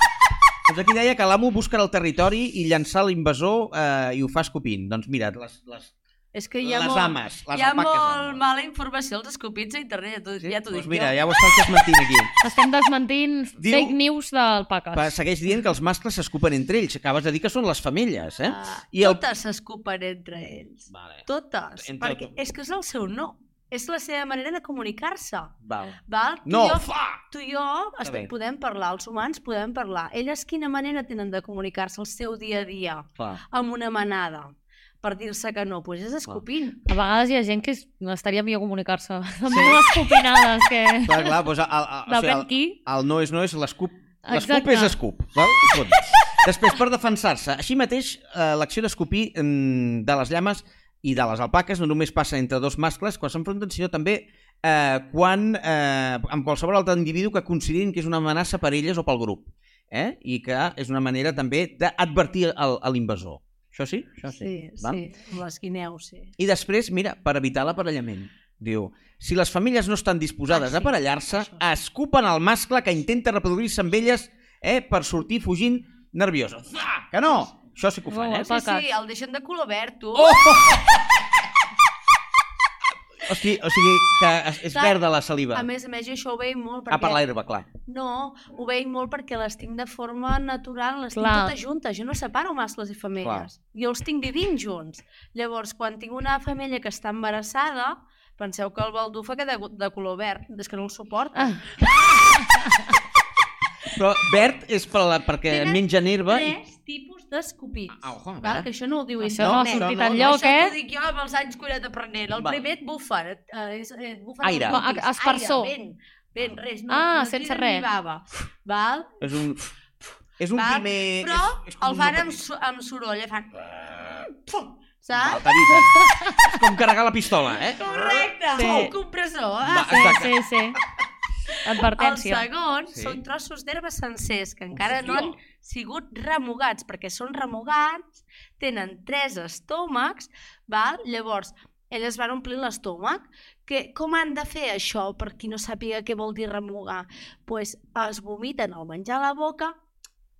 B: [laughs] Doncs aquí deia que l'amo busca el territori i llançar l'invasor eh, i ho fa escopint. Doncs mira, les, les,
D: És que hi ha
B: les
D: molt...
B: ames, les
G: Hi ha
B: alpaques
G: molt
B: ames.
G: mala informació als escopits a internet, ja t'ho- ja t'ho dic
B: doncs mira,
G: jo.
B: ja ho estàs desmentint
G: [laughs]
B: aquí.
C: Estem desmentint
B: Diu-
C: fake news d'alpaques.
B: Pa, segueix dient que els mascles s'escupen entre ells. Acabes de dir que són les femelles, eh?
G: Ah,
B: I el-
G: Totes s'escupen entre ells.
B: Vale.
G: Totes.
B: Entre
G: perquè
B: totes.
G: és que és el seu no. És la seva manera de comunicar-se.
B: Val.
G: Val? Tu
B: No,
G: i jo,
B: fa!
G: tu i jo estem,
B: bé.
G: podem parlar, els humans podem parlar. Elles quina manera tenen de comunicar-se el seu dia a dia
B: Fa.
G: amb una manada? per dir-se que no, doncs és escopint.
C: A vegades hi ha gent que es- estaria millor comunicar-se amb sí. unes copinades
B: [laughs]
C: que...
B: Clar, clar, doncs el, el, el, o sigui,
C: Depèn
B: el,
C: qui.
B: El no és no és l'escup. L'escup
C: Exacte.
B: és escup. Val? Punt. Després, per defensar-se, així mateix, eh, l'acció d'escopir mm, de les llames i de les alpaques no només passa entre dos mascles quan s'enfronten, sinó també eh, quan, eh, amb qualsevol altre individu que considerin que és una amenaça per elles o pel grup. Eh? I que és una manera també d'advertir el- a l'invasor. Això sí? Això
D: Sí,
B: Val?
D: sí, amb les guineus, sí.
B: I després, mira, per evitar l'aparellament. Diu, si les famílies no estan disposades
D: Ah, sí,
B: a aparellar-se,
D: això.
B: escupen el mascle que intenta reproduir-se amb elles eh, per sortir fugint nerviosa. Fa! Que no! Això sí que ho fan,
C: Uau,
B: eh?
C: alpaca.
G: Sí, el deixen de color verd, tu.
B: Oh! O sigui, o sigui que es, es
D: doncs- Clar,
B: perda la saliva.
D: A més a més, jo això ho veig molt
B: Ah,
D: perquè...
B: per l'herba, clar.
D: No, ho veig molt perquè les tinc de forma natural, les Clar.
C: Clar.
D: tinc totes juntes. Jo no separo mascles i femelles. Jo els tinc vivint junts. Llavors, quan tinc una femella que està embarassada, penseu que el baldufa queda de color verd. És que no el suporto.
C: Ah,
B: Però verd és per la, perquè
D: Tenen
B: mengen herba i...
D: Tres tipus d'escopits.
B: Ah, ojo, a
D: Val,
B: veure.
D: que això no ho diu
C: Això
B: no ha
D: internet.
B: sortit
C: enlloc,
D: això
C: eh?
D: t'ho dic jo amb els anys que he anat aprenent. El
B: Val.
D: primer et bufen. Et, eh, és- et bufen
B: Aire.
D: els dits.
C: Ah, aspersor.
D: Aire, vent, vent, res. No,
C: Ah,
D: no
C: sense
D: tiren
C: res.
D: Ni bava. Val?
B: És un... És un
D: Val,
B: primer...
D: Però
B: és, és
D: el
B: un
D: fan
B: una-
D: amb, so- amb soroll, eh? fan... Pum,
B: Val,
D: saps?
B: t'avisa. és com carregar la pistola, eh?
D: Correcte,
C: Sí.
D: un compressor. Eh?
B: Va,
C: sí,
B: exacte.
C: sí, sí.
D: El
C: Advertència.
D: segon
B: Sí.
D: sí. són trossos d'herba sencers que encara no
B: Hòstia.
D: han sigut remugats, perquè són remugats, tenen tres estómacs, val? llavors elles van omplir l'estómac. Que, com han de fer això, per qui no sàpiga què vol dir remugar? pues, es vomiten el menjar a la boca,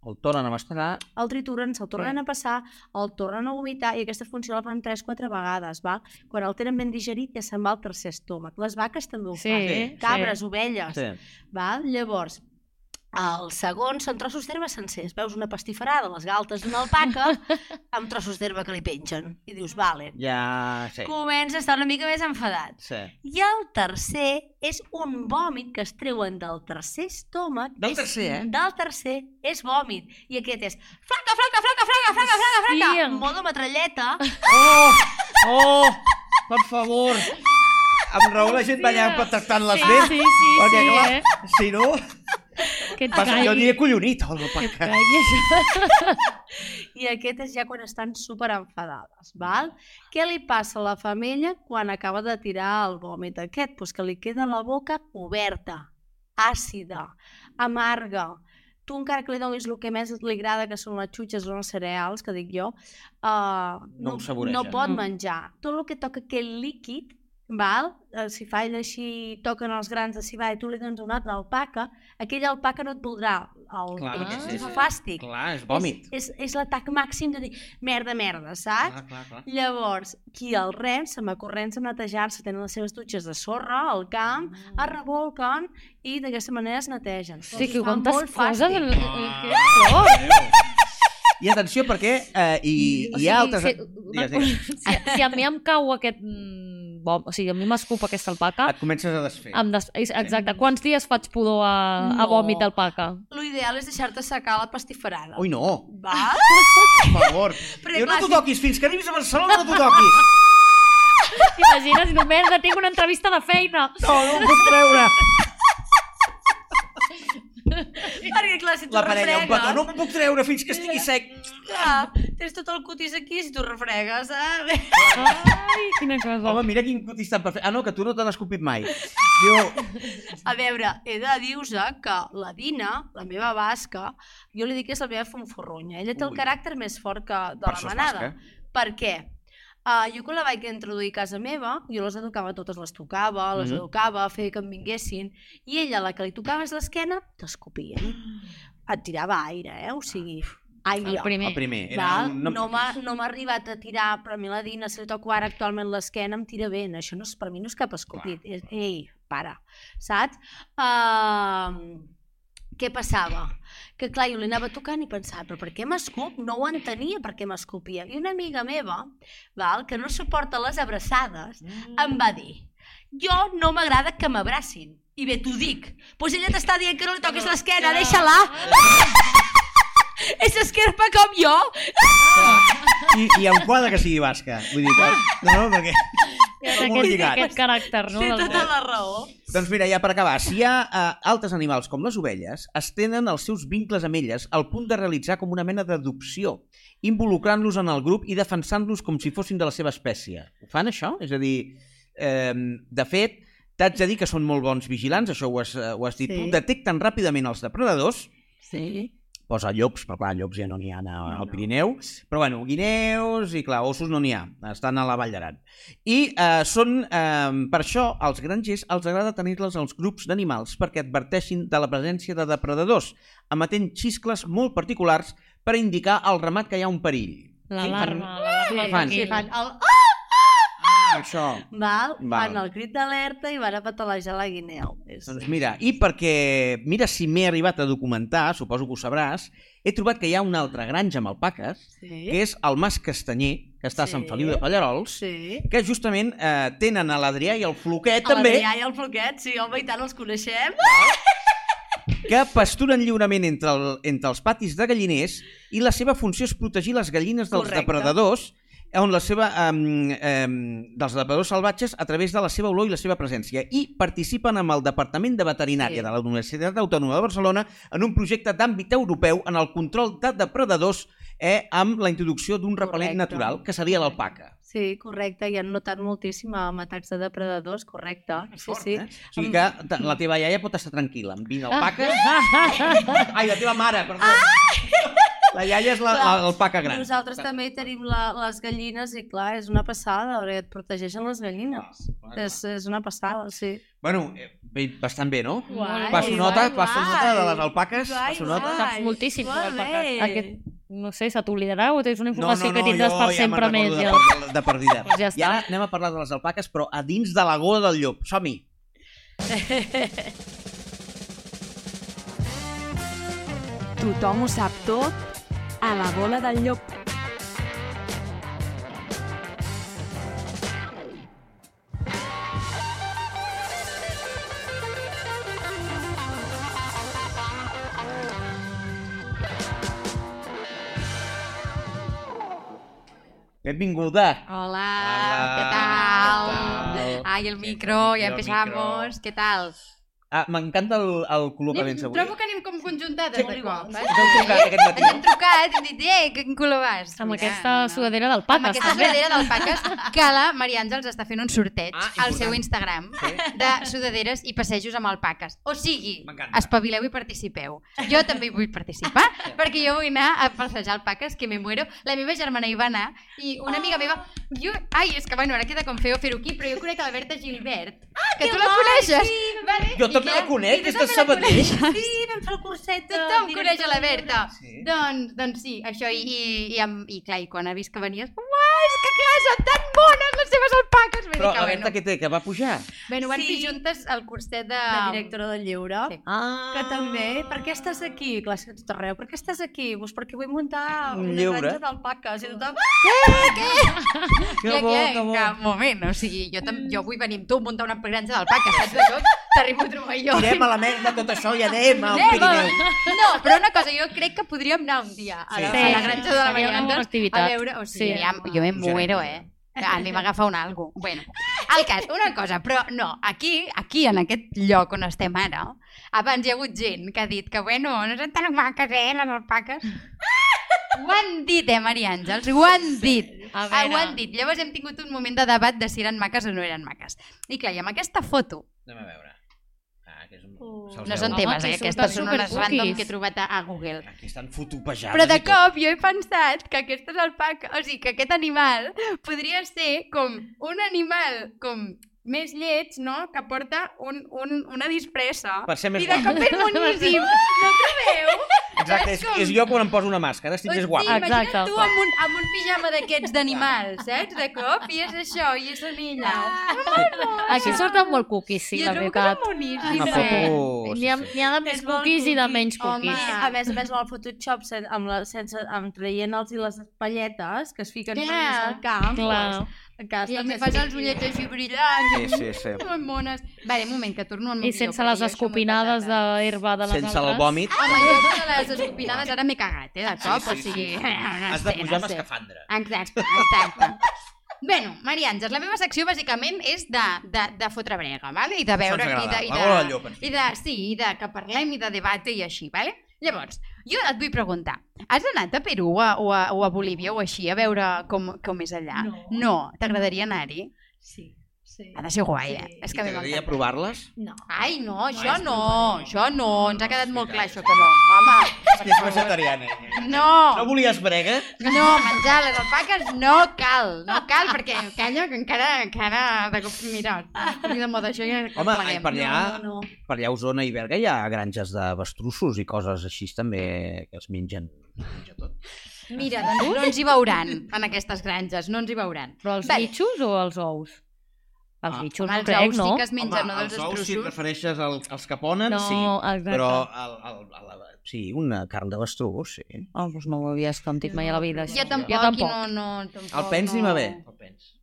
B: El tornen a mastegar.
D: el trituren, se'l tornen a passar, el tornen a vomitar i aquesta funció la fan 3-4 vegades. Val? Quan el tenen ben digerit ja se'n va al tercer estómac. Les vaques també ho
C: Sí,
D: fan.
C: sí.
D: Cabres, ovelles,
B: Sí.
D: Val? Llavors, el segon són trossos d'herba sencers. Veus una pastifarada, les galtes d'una
C: [laughs]
D: alpaca, amb trossos d'herba que li pengen. I dius, vale.
B: Ja... Sí.
D: Comença a estar una mica més enfadat.
B: sí.
D: I el tercer és un vòmit que es treuen del tercer estómac.
B: Del
D: és-
B: tercer, eh?
D: Del tercer és vòmit. I aquest és flaca, flaca, flaca, flaca, flaca, flaca, flaca.
C: Hòstia.
D: En modo metralleta.
B: Oh! Oh! Per favor! Amb raó la gent va allà patactant les
C: Sí,
B: dents.
C: sí, sí,
B: perquè,
C: sí,
B: clar,
C: eh?
B: Si no,
C: Que et
B: passa, jo
C: caigui.
B: aniré collonit. Oh, no,
C: Que et
B: perquè...
C: caigui això.
D: [laughs] I aquest és ja quan estan super enfadades, val? Què li passa a la femella quan acaba de tirar el vòmit aquest? Pues que li queda la boca oberta, àcida, amarga. Tu encara que li donis el que més li agrada, que són les xutxes o els cereals, que dic jo, uh,
B: No ho saboreja.
D: no pot
C: Mm.
D: menjar. Tot el que toca aquell líquid, val? Eh, si fa ell així, toquen els grans de cibà i tu li dones una altra alpaca, aquella alpaca no et voldrà el,
B: Clar,
D: el,
B: perquè
D: el,
B: és-
D: el fàstic.
B: Clar, és vòmit.
D: És, és, és l'atac màxim de dir merda, merda,
C: Ah?
D: saps?
B: Clar, clar, clar.
D: Llavors, qui el rep, se m'acorrents a netejar-se, tenen les seves dutxes de sorra al camp,
B: Ah.
D: es revolquen i d'aquesta manera es netegen.
C: Sí, que
D: Fa
C: quantes
D: molt
C: coses...
D: fàstic.
C: En... Que por.
B: I atenció, perquè eh, hi,
C: O
B: hi
C: sigui,
B: ha altres...
C: si-
B: Digues, digues.
C: Si, si a mi em cau aquest... mm, Bom, o sigui, a mi m'escup aquesta alpaca,
B: Et comences a desfer.
C: em des... és- exacte, quants dies faig pudor a, a
D: No.
C: vòmit d'alpaca?
D: Lo ideal és deixar-te secar la pastifarada.
B: Ui, no, [laughs]
D: Val?
B: per favor.
D: Però,
B: Jo no
D: clar,
B: t'ho
D: si-
B: toquis, fins que arribis a Barcelona no t'ho
C: [laughs]
B: toquis.
C: T'imagines, només de tinc una entrevista de feina.
B: No, no ho puc creure.
D: Perquè clar, si tu
B: La parella, un petó,
D: refregues...
B: no ho puc treure fins que estigui sec.
D: Clar, tens tot el cutis aquí si tu refregues, eh?
C: Ai, quina cosa.
B: Home, mira quin cutis tan perfecte. Ah, no, que tu no te n'has escopit mai. Jo,
D: A veure, he de dir-vos que la Dina, la meva basca, jo li dic que és la meva fonforronya. Ella té
B: Ui.
D: el caràcter més fort que de
B: Per
D: la
B: això és
D: manada.
B: basca. eh?
D: Per què? Uh, jo quan la vaig introduir a casa meva, jo les educava totes, les tocava, les
B: Mhm.
D: educava, feia que em vinguessin, i ella, la que li tocaves l'esquena, t'escopien. Et tirava aire, eh? O sigui, aire.
C: El primer.
B: el primer. Era
D: Val?
B: un...
D: No, m'ha- no m'ha arribat a tirar, però a mi la Dina, si li toco ara actualment l'esquena, em tira vent. Això no és, per mi no és cap escopit. És, ei, para, saps? Uh, què passava? Que clar, jo li anava tocant i pensava, però per què m'escup? No ho entenia per què m'escopia. I una amiga meva, val, que no suporta les abraçades, em va dir, jo no m'agrada que m'abracin. I bé, t'ho dic. Doncs pues ella t'està dient que no li toquis l'esquena, deixa-la. [laughs] És esquerpa com jo.
B: I, I em quadra que sigui basca. Vull dir, que- no, no, perquè... Està molt
C: Aquest,
B: lligat.
C: aquest caràcter, no?
D: Té
C: Del-
E: eh,
D: tota la raó.
B: Doncs mira, ja per acabar, si hi ha eh, altres animals com les ovelles, estenen els seus vincles amb elles al punt de realitzar com una mena d'adopció, involucrant-los en el grup i defensant-los com si fossin de la seva espècie. Ho fan, això? És a dir, eh, de fet, t'haig de dir que són molt bons vigilants, això ho has, eh, ho has dit
H: Sí.
B: tu, detecten ràpidament els depredadors,
H: Sí.
B: posa llops, però clar, llops ja no n'hi ha a- al Pirineu, però bueno, guineus i clar, ossos no n'hi ha, estan a la Vall d'Aran. I eh, són, eh, per això, als grangers els agrada tenir-les als grups d'animals perquè adverteixin de la presència de depredadors, emetent xiscles molt particulars per indicar al ramat que hi ha un perill.
C: L'alarma.
B: Fan.
C: l'alarma tranquil.
D: El...
B: Això.
E: Val?
B: Val.
E: Van al crit d'alerta i van a patalejar la guineu. És...
B: Doncs mira, i perquè... Mira si m'he arribat a documentar, suposo que ho sabràs, he trobat que hi ha una altra granja amb alpaques,
E: Sí,
B: que és el Mas Castanyer, que està a Sant
E: Sí.
B: Feliu de Pallarols,
E: sí.
B: que justament eh, tenen a l'Adrià i el Floquet
E: A
B: també,
E: l'Adrià i el Floquet, sí, home, i tant els coneixem.
B: que pasturen lliurement entre, el, entre els patis de galliners i la seva funció és protegir les gallines dels
E: Correcte.
B: depredadors on la seva, um, um, dels depredadors salvatges a través de la seva olor i la seva presència i participen amb el Departament de Veterinària
E: Sí.
B: de la Universitat Autònoma de Barcelona en un projecte d'àmbit europeu en el control de depredadors eh, amb la introducció d'un repel·lent
D: Correcte.
B: natural, que seria l'alpaca.
D: Sí, correcte, i han notat moltíssim amb atacs de depredadors, correcte. Sí, sí.
B: Eh? O sigui que ta- la teva iaia pot estar tranquil·la amb 20 alpaques Ai, la teva mare, perdó. La iaia és la- la- l'alpaca gran.
E: Nosaltres també tenim la, les gallines i clar, és una passada, perquè et protegeixen les gallines.
B: Ah,
E: És, és una passada, sí.
B: Bueno, eh, bé, bastant bé, no?
C: Guai.
B: Passo nota, passo nota de les alpaques.
E: Guai,
B: Passo nota.
E: guai.
C: Saps moltíssim de
E: Molt
C: l'alpaca.
E: bé.
C: Aquest, no sé, se t'oblidarà o tens una informació que tindràs per sempre
B: me'n
C: més.
B: recordo
C: Ja.
B: De, de, de perdida.
C: Doncs ja està.
B: I ara anem a parlar de les alpaques, però a dins de la gola del llop. Som-hi.
A: Tothom ho sap tot a la bola del llop.
B: Benvinguda.
F: Hola,
B: Hola,
F: ¿qué tal?
B: ¿qué tal?
F: Ay, el
B: micro,
F: micro,
B: ya
F: ya
B: El empezamos.
F: empezamos.
B: micro.
F: ¿Qué tal?
B: Ah, M'encanta el, el col·locament avui.
F: Trobo que anem com conjuntades, eh? sí. igual.
B: Ens heu trucat aquest matí.
F: Ens hem trucat i hem dit, eh, quin color vas?
C: Amb
F: Mira,
C: aquesta
F: no, no.
C: sudadera del
F: Amb
C: Paques,
F: aquesta
C: també.
F: sudadera d'alpaques que la Maria Àngels està fent un sorteig
B: Ah,
F: al seu
B: important.
F: Instagram
B: Sí.
F: de sudaderes i passejos amb alpaques. O sigui,
B: M'encanta.
F: espavileu i participeu. Jo també hi vull participar perquè jo vull anar a passejar alpaques, que me muero. La meva germana hi va anar i una amiga meva... Jo... Ai, és que bueno, ara queda com feo fer-ho aquí, però jo conec la Berta Gilbert. Ah, que tu la coneixes. Vale?
B: Jo
F: I
B: també la
F: clar,
B: conec,
F: i tu
B: aquesta
F: també la
B: Sabater.
F: coneixes.
E: Sí, vam fer el curset. de
F: Tothom
E: director
F: coneix a la
E: de
F: Berta.
B: Sí.
F: Sí. Doncs, doncs sí, això, i, i, i, amb, i clar, i quan ha vist que venies, uah, és que clar, són tan bones les seves alpaques! Vull
B: Però
F: dir que,
B: a
F: bueno,
B: veure què té, que va pujar.
F: bueno, van
E: Sí.
F: fer juntes al curset de...
E: De directora del lliure.
F: Sí.
B: Ah.
E: Que també, eh? per què estàs aquí? Clar, és que tot arreu, per què estàs aquí? Doncs perquè vull muntar
B: Un
E: una
B: lleure.
E: granja d'alpaques. I tothom,
B: Que bo, que bo.
F: un moment, o sigui, jo, tam... jo vull venir amb tu a muntar una granja d'alpaques, saps de tot? T'arribo a trobar jo.
B: Tirem a la merda tot això i anem al
F: Anem,
B: Pirineu.
F: No, però una cosa, jo crec que podríem anar un dia a
B: Sí.
F: la, a la
B: Sí.
F: granja de la
C: Seria una
F: Mariana
C: bona
F: a
C: activitat.
F: veure, o sigui,
C: Sí.
F: ja, jo em
B: Ja no
F: muero,
B: crec.
F: eh? A mi m'agafa un algo. Bueno, el cas, una cosa, però no, aquí, aquí, en aquest lloc on estem ara, abans hi ha hagut gent que ha dit que, bueno, no són tan maques, eh, les alpaques. Ho han dit, eh, Maria Àngels, ho han dit.
C: A
F: Ah, ho
C: veure.
F: han dit. Llavors hem tingut un moment de debat de si eren maques o no eren maques. I clar, i amb aquesta foto,
B: Anem a veure. Ah, que és un... se'ls
F: no
B: veu.
F: són
C: Home,
F: temes,
C: sí,
F: eh?
C: són
F: Aquestes són unes
C: supercookies.
F: random que he trobat a, a Google.
B: Aquí estan fotopejades.
F: Però de
B: i tot.
F: cop jo he pensat que aquestes alpaques, o sigui, que aquest animal podria ser com un animal com més lleig, no?, que porta un, un, una disfressa.
B: [laughs] Per ser més
F: I de
B: guapo.
F: cop és boníssim, no trobeu?
B: Exacte, és,
F: com-
B: és jo quan em poso una màscara, estic [laughs] més guapo.
F: Imagina't
C: Exacte.
F: tu amb un, amb un pijama d'aquests d'animals, saps? De cop, i és això, i és anilla.
C: Aquí surten molt cookies, sí,
F: jo
C: la
F: trobo
C: veritat.
F: que són boníssimes.
B: Una foto...
C: N'hi ha, n'hi ha de més
E: És molt
C: cookies i de
E: cookie.
C: menys
E: I,
C: cookies.
E: "Ah!" a més a més, el Photoshop sen, amb, la, sense, amb traient els i les espatlletes que es fiquen
F: Clar.
E: només al camp.
C: Clar.
E: Doncs, que
F: I
E: estan
F: em
E: més
F: fas els
E: cookies.
F: ullets així brillants,
B: Sí, sí, sí.
F: molt mones. Vale, un moment, Mm, que torno al meu
C: I sense les escopinades d'herba de les
B: Sense el
C: altres.
B: vòmit,
F: Home, jo de les escopinades ara m'he cagat,
B: Ah,
F: eh, de cop, o sigui... [laughs] Ah,
B: has de pujar amb escafandra.
F: Exacte, exacte. Bueno, Maria Àngels, la meva secció bàsicament és de, de, de fotre brega, vale? i de veure...
B: ens
F: I de,
B: agrada,
F: i
B: la
F: de,
B: bola del llop, en fi.
F: I de, sí, i de que parlem i de debate i així, vale? Llavors, jo et vull preguntar, has anat a Perú o a, o a, o a Bolívia o així a veure com, com és allà?
E: No.
F: no t'agradaria anar-hi?
E: Sí, sí.
F: Ha de ser guai, eh?
E: Sí.
F: És que a mi
B: T'agradaria
F: m'encanta.
B: provar-les?
E: No.
F: Ai, no, això
E: és
F: no,
E: molt
F: això no, ens ha quedat
B: No,
F: molt clar
B: sí,
F: això que no. Home,
B: És que és vegetariana. ella.
F: no!
B: No volies brega?
F: No, menjar les alpaques no cal, no cal, perquè calla, que encara, encara, de cop, mira, estic de moda això i ja
B: Home, ai, per
F: pleguem.
B: allà,
E: No, no,
B: per allà a Osona i Berga hi ha granges de bastrussos i coses així també que es mengen.
F: Mira, doncs no ens hi veuran, en aquestes granges, no ens hi veuran.
C: Però els
F: Vale.
C: bitxos o els ous? Els
B: Ah,
C: bitxos
F: Home,
C: no
F: els
C: crec,
F: ous
C: no?
F: sí que es mengen, no dels
B: els ous, si et
F: estruços.
B: refereixes al, als que ponen,
C: No,
B: sí.
C: exacte.
B: Però el, el, el, el, sí, una carn de bestrugó, sí.
C: Oh, doncs no ho havies sentit mai a la vida.
F: Jo
C: això.
F: tampoc,
C: Jo
F: i
C: tampoc.
F: no, no, tampoc.
B: El Pens
F: no.
B: anem a bé. El Pens.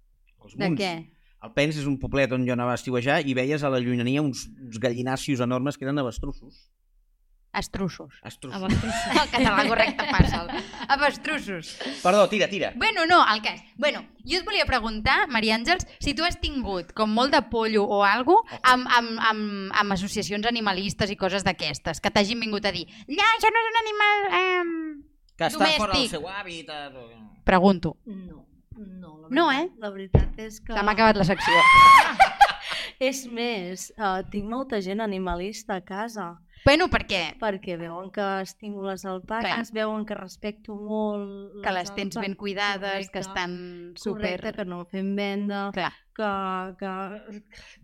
B: Els
F: De
B: munts.
F: què?
B: El Pens és un poblet on jo anava a estiuejar i veies a la llunyania uns, uns gallinacis enormes que eren avestrussos.
F: Estrussos.
C: Ah,
B: Astrussos.
C: va.
F: El català correcte passa. Avestrussos.
B: Perdó, tira, tira.
F: Bueno, no, el cas. Bueno, jo et volia preguntar, Maria Àngels, si tu has tingut com molt de pollo o algo amb, amb, amb, amb associacions animalistes i coses d'aquestes, que t'hagin vingut a dir ja, això no és un animal... Ehm...
B: Que està fora del
F: domèstic.
B: seu hàbitat. o-
F: Pregunto.
D: No, no, la veritat,
F: No, eh?
D: La veritat és que...
F: Se m'ha acabat la secció.
D: És més,
E: eh,
D: uh, tinc molta gent animalista a casa
F: bueno, perquè
D: perquè veuen que estimo les alpaques, veuen que respecto molt...
F: que les tens
D: alpaques,
F: ben cuidades, que
D: Doncs correcte,
F: estan
D: Correcte,
F: super...
D: que no fem venda,
F: Clar.
D: que, que,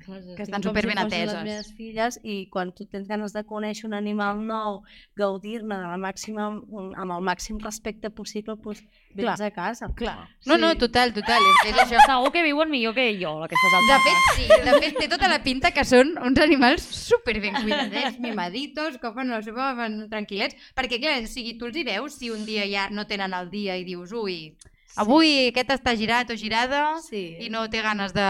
D: que, les estic
F: estan
D: com
F: superben
D: fossin
F: ateses.
D: Les meves filles, i quan tu tens ganes de conèixer un animal nou, gaudir-ne de la màxima, amb el màxim respecte possible, doncs vens
F: Clar.
D: a casa. Clar.
F: No, no, total, total. És, és això.
C: Segur que viuen millor que jo, aquestes
F: De
C: altres.
F: fet, sí. De fet, té tota la pinta que són uns animals super ben cuidadets, mimaditos, que fan la seva van tranquil·lets, perquè, clar, o sigui, tu els hi veus si un dia ja no tenen el dia i dius, ui, avui aquest està girat o girada
D: Ah, Sí.
F: i no té ganes de...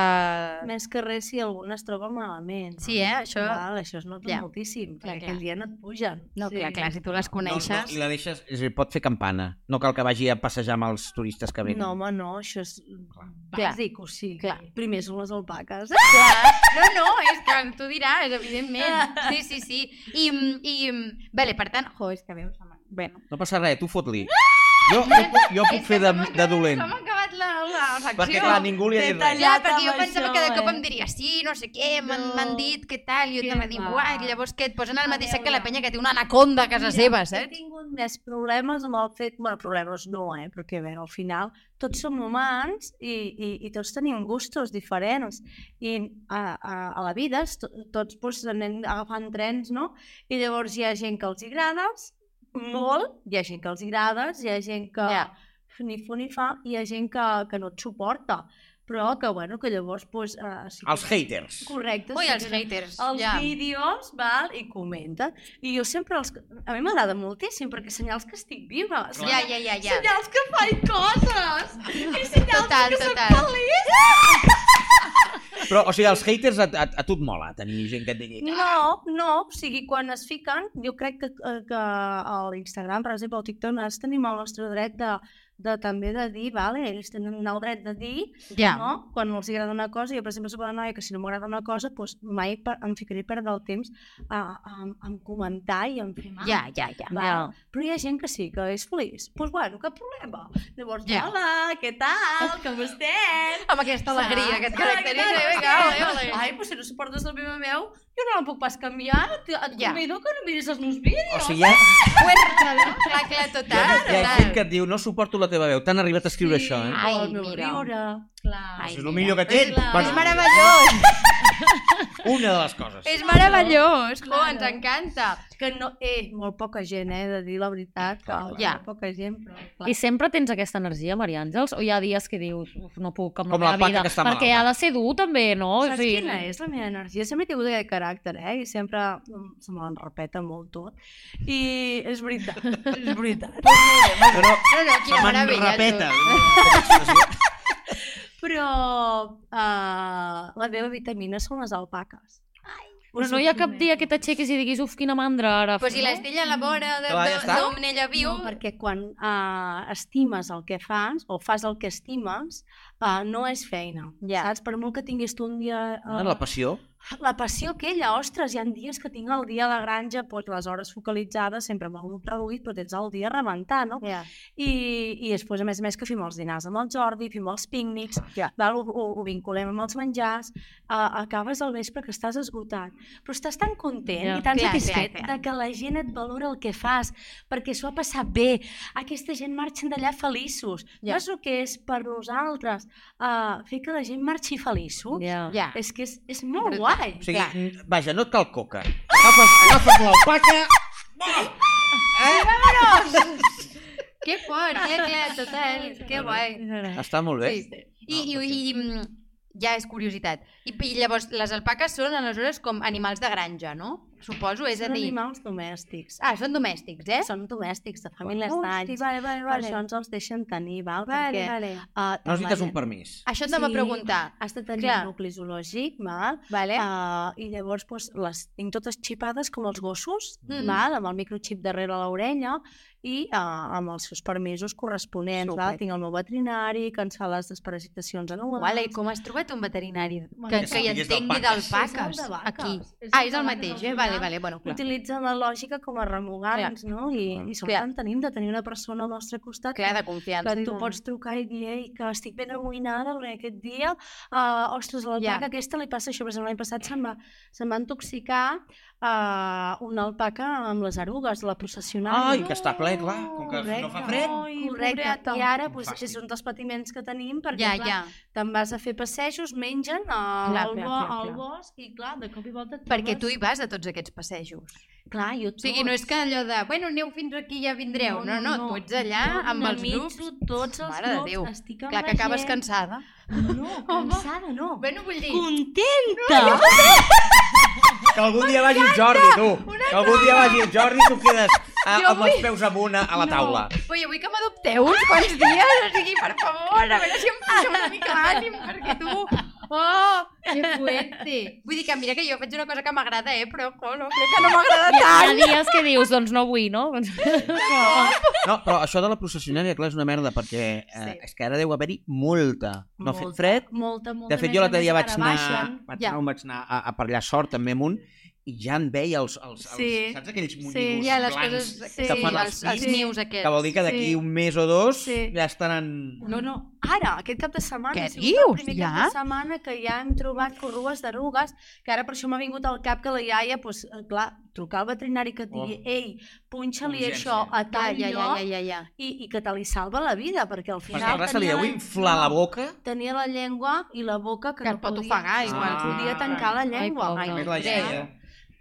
D: Més que res si algun es troba malament.
F: Sí, eh, això-
D: Val, això es nota
F: Ja.
D: ja. moltíssim,
F: Clar,
D: perquè
F: clar.
D: aquell dia no et pugen.
F: No, clar, clar, si tu les
B: No,
F: coneixes...
B: no, I la deixes... És a dir, pot fer campana. No cal que vagi a passejar amb els turistes que venen.
D: No, home, no, això és
F: Clar.
D: bàsic, o sigui,
F: Clar.
D: primer són les alpaques.
F: Clar. No, no, és que tu diràs, evidentment. Sí, sí, sí. I, i vale, per tant, jo, és que veus, home. Bueno.
B: no passa res, tu fot-li. Jo, jo, puc, jo puc fer de, de dolent.
F: S'ha acabat la, la secció.
B: Perquè, clar, ningú li ha dit res.
F: Ja,
D: tallat
F: perquè jo
D: amb
F: pensava
D: això,
F: que de cop
D: eh?
F: em diria sí, no sé què, m'han
D: No.
F: m'han dit què tal, i jo
D: Que
F: t'anava a dir,
D: va.
F: uai, i llavors que et posen al
D: A
F: mateix sac que la
D: veure.
F: penya que té una anaconda a casa seva,
D: He
F: saps?
D: tingut més problemes amb el fet... Bueno, problemes no, eh? Perquè, a veure, al final tots som humans i, i, i tots tenim gustos diferents. I a, a, a la vida es to, tots pues, anem agafant trens, no? I llavors hi ha gent que els hi agrades molt, hi ha gent que els hi agrades, hi ha gent que
F: Ja.
D: ni fu ni fa, hi ha gent que, que no et suporta. Però que, bueno, que llavors... Pues, eh, sí que-
B: Els haters.
D: Correcte.
F: Ui,
D: sí
F: els
D: que-
F: haters.
D: els
F: ja.
D: ja. vídeos, val, i comenten. I jo sempre els... A mi m'agrada moltíssim, perquè senyals que estic viva.
F: Ja, ja, ja, ja.
D: Senyals que faig coses!
F: [laughs]
D: I senyals
F: Total,
D: que soc
F: total.
D: feliç!
B: Però, o sigui, els haters a, a, a tu et mola tenir gent que et digui
D: No, no, o sigui, quan es fiquen, jo crec que, eh, que a l'Instagram, per exemple, al TikTok, nosaltres tenim el nostre dret de, de també de dir, vale? ells tenen el dret de dir,
F: Ja.
D: no? quan els agrada una cosa, jo per exemple soc una noia que si no m'agrada una cosa, doncs mai per, em ficaré a perdre el temps a, a, a, a comentar i a fer mal.
F: Ja, ja, ja.
D: Va, Però hi ha gent que sí, que és feliç. Doncs pues bueno, cap problema. Llavors,
F: Ja.
D: hola, què tal? Com estem?
F: Amb aquesta alegria que et
D: Ah,
F: caracteritza.
D: què
F: Vinga,
D: tal?
F: ole, ole.
D: Ai, però si no suportes la meva veu, jo no la puc pas canviar. Et, et
F: Ja.
D: convido que no miris els meus vídeos.
B: O sigui, hi ha,
F: Puerta, clar,
B: hi
F: clar,
B: ha, hi ha gent
F: total,
B: que
F: total.
B: et diu no suporto la teva veu, t'han arribat a escriure això, eh?
F: Ai,
D: el meu
F: mira.
D: riure.
F: Ai,
B: Això és el
F: mira.
B: millor que té.
F: És meravellós,
B: Una de les coses.
F: és meravellós. Jo, ens encanta.
D: Que no, eh, molt poca gent, eh, de dir la veritat. Que,
F: Ja.
D: Molt poca gent, però... clar.
C: I sempre tens aquesta energia, Maria Àngels? O hi ha dies que dius, uf, no puc amb
B: Com la
C: la meva
B: paca
C: vida?
B: que està
C: Perquè
B: malalta.
C: ha de ser dur, també, no?
D: Saps quina és la meva energia? Sempre he tingut aquest caràcter, eh? I sempre mm, se me l'enrepeta molt tot. I és veritat, és veritat.
B: Però
F: No, no,
B: se
F: quina
B: me'n
F: meravella. [laughs]
B: repeta.
F: tu.
D: Però uh, la meva vitamina són les alpaques.
C: Però no hi ha cap dia que t'aixequis i diguis, uf, quina mandra ara.
F: Però si
C: no?
F: l'estella a la vora de-
B: Clar, Doncs ja
F: de-
B: està.
F: d'on ella viu...
D: No, perquè quan uh, estimes el que fas o fas el que estimes, uh, no és feina.
F: Ja.
D: Saps? Per molt que tinguis tu un dia... Uh,
B: Ah, La passió.
D: la passió aquella, ostres, hi ha dies que tinc el dia a la granja, doncs les hores focalitzades, sempre amb el grup reduït, però tens el dia a rebentar, no?
F: Ja.
D: I, i després, a més a més, que fem els dinars amb el Jordi, fem els pícnics,
F: Ah, Ja.
D: val, ho, ho, ho vinculem amb els menjars, uh, acabes el vespre que estàs esgotat, però estàs tan content
C: Ja.
D: i tan
F: Clar,
D: satisfet
F: clar, clar.
D: de que la gent et valora el que fas, perquè s'ho ha passat bé, aquesta gent marxen d'allà feliços, ja.
F: Ja.
D: no és el que és per nosaltres, uh, fer que la gent marxi feliços, ja.
C: Ja.
F: Ja.
D: és que és, és molt
F: Brutal.
D: guai.
B: O sigui,
F: Clar.
B: mm, vaja, no et cal coca.
F: Eh? [laughs]
B: Agafes, agafes l'alpaca...
F: Que fort, eh, clar, total, que guai.
B: Està molt bé.
F: Sí. I, i,
B: No,
F: i, mm, ja és curiositat. I, I llavors, les alpaques són aleshores com animals de granja, no? Suposo, és a
D: Són
F: dir...
D: animals domèstics.
F: Ah, són domèstics, eh?
D: Són domèstics, de famílies
E: Hosti,
D: d'anys.
E: vale, vale,
D: Per
E: vale.
D: això ens els deixen tenir, val?
E: Vale,
D: Perquè,
E: vale.
D: Uh,
B: No necessites un permís.
F: Això t'anava
D: Sí.
F: a preguntar.
D: Has de tenir
F: Clar. Eh?
D: un nucli zoològic, val?
F: Vale?
D: Uh, I llavors pues, les tinc totes xipades com els gossos,
F: Mhm.
D: mm. val? amb el microchip darrere l'orella i uh, amb els seus permisos corresponents. Val?
F: Súper.
D: Tinc el meu veterinari, cansar les desparasitacions anuals.
F: Uala, i com has trobat un veterinari que,
B: que
F: que hi
B: sàpigues
F: entengui d'alpaques
D: És el de vaques.
F: aquí?
D: És
F: Ah,
D: el
F: és
D: de
F: el
D: vaques
F: mateix,
D: al
F: eh? Vale,
D: final.
F: vale, bueno, clar.
D: utilitzen la lògica com a remugants, no? I, i són
F: Clar.
D: tan tenint de tenir una persona al nostre costat
F: Clar, de
D: que
F: confiança.
D: tu pots trucar i dir Ei, que estic ben amoïnada perquè aquest dia, uh, ostres, a l'alpaca
F: Ja.
D: yeah. aquesta li passa això, per exemple, l'any passat se'n va, se'n va intoxicar uh, una alpaca amb les erugues, la processional.
B: Ai, que està ple, clar, com que no fa fred.
D: Correcte, i ara pues,
B: Fàstic.
D: és un dels patiments que tenim perquè
F: Ja,
D: clar,
F: ja.
D: te'n vas a fer passejos, mengen al,
F: Clar,
D: al,
F: clar,
D: bo,
F: clar,
D: al
F: clar.
D: bosc i clar, de cop i volta et
F: Perquè tu
D: trobes-
F: hi vas a tots aquests passejos.
D: Clar, jo
F: O sigui, no és que allò de, bueno, aneu fins aquí i ja vindreu. No, no, tu ets allà amb els grups.
D: Tots els
F: Mare de
D: grups,
F: Déu.
D: estic amb
F: Clar,
D: la
F: que acabes
D: gent.
F: cansada. [laughs]
D: No, cansada no.
F: Bueno, vull dir...
D: Contenta!
B: Que algun dia vagi el Jordi, tu. Que algun dia vagi el Jordi i tu quedes a,
F: Jo
B: amb els peus amunt a, a la taula.
F: Oi, avui que m'adopteu uns quants dies, o sigui, per favor, a veure si em puja una mica l'ànim, perquè tu... Oh, que fuerte. Vull dir que mira que jo faig una cosa que m'agrada, eh, però colo, crec que no m'agrada
C: Hi ha, hi ha
F: tant.
C: dies que dius, doncs no vull, no? Doncs- [laughs]
B: No, però això de la processionària, clar, és una merda, perquè eh,
F: Sí.
B: és que ara deu haver-hi molta. No ha fet
D: Molta.
B: fred.
D: Molta, molta
B: De fet,
D: més
B: jo
D: a
B: l'altre
D: més,
B: dia vaig
D: ara
B: anar,
D: baixen.
B: vaig
F: Ja.
B: anar, on vaig anar a, a per allà sort, també amunt, i ja en veia els, els, els
E: Sí.
B: saps aquells munyigos
E: Sí,
B: blancs
F: Hi ha les coses... Sí,
B: que fan els
F: els, els
B: pits,
F: nius
B: que
F: aquests.
B: vol dir que d'aquí
E: Sí.
B: un mes o dos
E: Sí.
B: ja estaran...
D: No, no, ara, aquest cap de setmana.
F: Què
D: ha sigut
F: dius,
D: El primer
F: ja?
D: cap de setmana que ja hem trobat corrues d'erugues, que ara per això m'ha vingut al cap que la iaia, doncs, eh, clar, trucar al veterinari que et digui,
B: Oh.
D: ei, punxa-li
B: Urgència.
D: això a
F: Ja,
D: tal
F: ja, ja,
D: lloc
F: ja, ja, ja.
D: I, i que te li salva la vida, perquè al
B: Perquè
D: final
B: ara se li deu inflar la boca.
D: tenia la llengua i la boca que,
F: Que Ah.
D: no
F: et pot
D: podia,
F: ofegar,
D: no
B: igual.
D: podia tancar la
C: Ai,
D: llengua.
C: pobre.
B: Més la
F: Andrea.
B: iaia.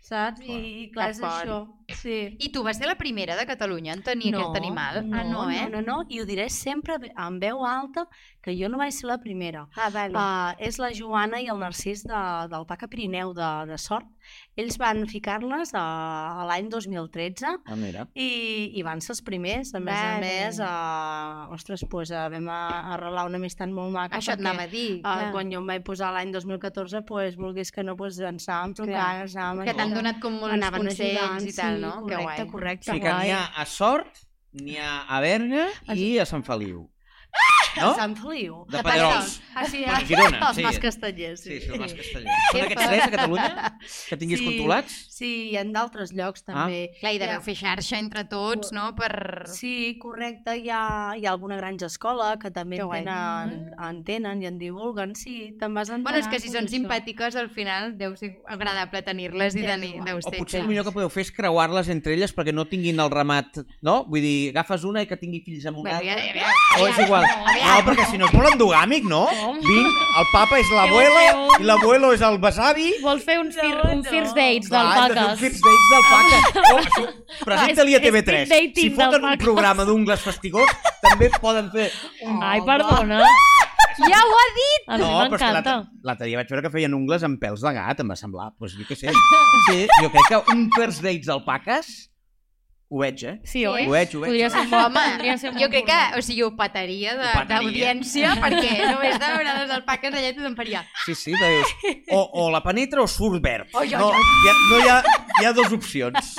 D: saps? I, i clar,
F: Que
D: és
F: fort.
D: això. Sí.
F: I tu vas ser la primera de Catalunya en tenir no, aquest animal?
D: No,
F: ah, no, eh?
D: No, no, no, i ho diré sempre en veu alta, que jo no vaig ser la primera.
F: Ah, vale.
D: Uh, és la Joana i el Narcís de, del Paca Pirineu de, de Sort. Ells van ficar-les a, a l'any 2013
B: Ah, mira.
D: i, i van ser els primers. A més
F: Vale.
D: a més, uh, ostres, pues, uh, vam a- arrelar una amistat molt maca.
F: Això et
D: perquè-
F: anava a dir.
D: Uh,
F: clar.
D: quan jo em vaig posar l'any 2014, pues, vulguis que no, pues, ens anàvem trucant, ens anàvem...
F: que t'han
D: ajudant,
F: donat com molts
D: anaven
F: consells
D: ajudant,
F: i tal,
D: sí,
F: no?
D: Correcte,
F: que guai.
B: O
D: correcte.
B: sigui que n'hi ha a Sort, n'hi ha a Berga i a Sant Feliu. No?
D: A Sant Feliu.
B: De
F: De
B: Paderols.
D: Ah, sí,
B: Bueno, Girona,
D: [laughs] els
B: sí.
D: más castellers.
B: Sí, sí, el Mas Castellà. Són aquests tres a Catalunya que tinguis
D: Sí.
B: controlats?
D: Sí, i en d'altres
B: Ah.
D: llocs també.
F: Clar, i deveu
D: Ja.
F: fer xarxa entre tots, no? Per...
D: Sí, correcte, hi ha, hi ha alguna granja escola que també
F: Que
D: en
F: guai. Mm.
D: tenen, en tenen i en divulguen, sí, te'n vas enterar.
F: Bueno, és que si
D: tot
F: són
D: això.
F: simpàtiques, al final deu ser agradable tenir-les i
D: Ja,
F: tenir...
D: igual.
F: Deu
B: O
F: ser
B: potser el
F: xulo.
B: millor que podeu fer és creuar-les entre elles perquè no tinguin el ramat, no? Vull dir, agafes una i que tingui fills amb una
F: Bueno, ja,
B: altra.
F: ja,
B: O és igual. No, perquè si no és molt endogàmic, no? Vinc, el papa és l'abuelo i l'abuelo és el besavi.
C: Vols fer un, fir, un first dates
B: Clar, has de fer un
C: d'alpaques?
B: first dates d'alpaques. Oh, això, Presenta-li a
C: És- és speed
B: TV3.
C: dating
B: Si foten un
C: d'alpaques.
B: programa d'ungles fastigós, també poden fer...
C: Ai, perdona.
F: ja ho ha dit!
C: A mi
B: però és que
C: m'encanta.
B: l'altre- L'altre dia vaig veure que feien ungles amb pèls de gat, em va semblar. Pues, jo què sé. Sí, jo crec que un first dates d'alpaques... Ho veig, eh?
C: Sí, oi?
B: Ho veig, ho veig.
C: Podria ser
F: [laughs]
C: molt,
F: Home,
C: podria ser molt
F: jo crec que,
C: [laughs] formal.
F: o sigui, ho petaria de-
B: Ho petaria.
F: d'audiència,
D: [laughs]
F: perquè només de veure les alpaques allà tothom faria...
B: Sí, sí, de dius, o, o la penetra o surt verd.
F: Oi, oi,
B: no,
F: oi.
B: Hi ha, no hi ha, hi ha dues opcions.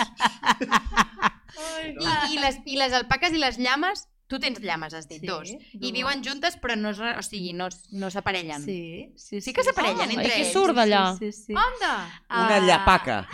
F: I, i, les, I les alpaques i les llames, tu tens llames, has dit,
D: Sí,
F: dos. I
D: dues.
F: viuen juntes, però no, es re- o sigui, no, es- no s'aparellen. Sí.
D: Sí, sí,
F: Sí que s'aparellen
C: Ah,
F: entre
C: i qui
F: ells. Ah.
C: surt d'allà?
D: Sí, sí, sí.
F: Onda!
B: Una llapaca.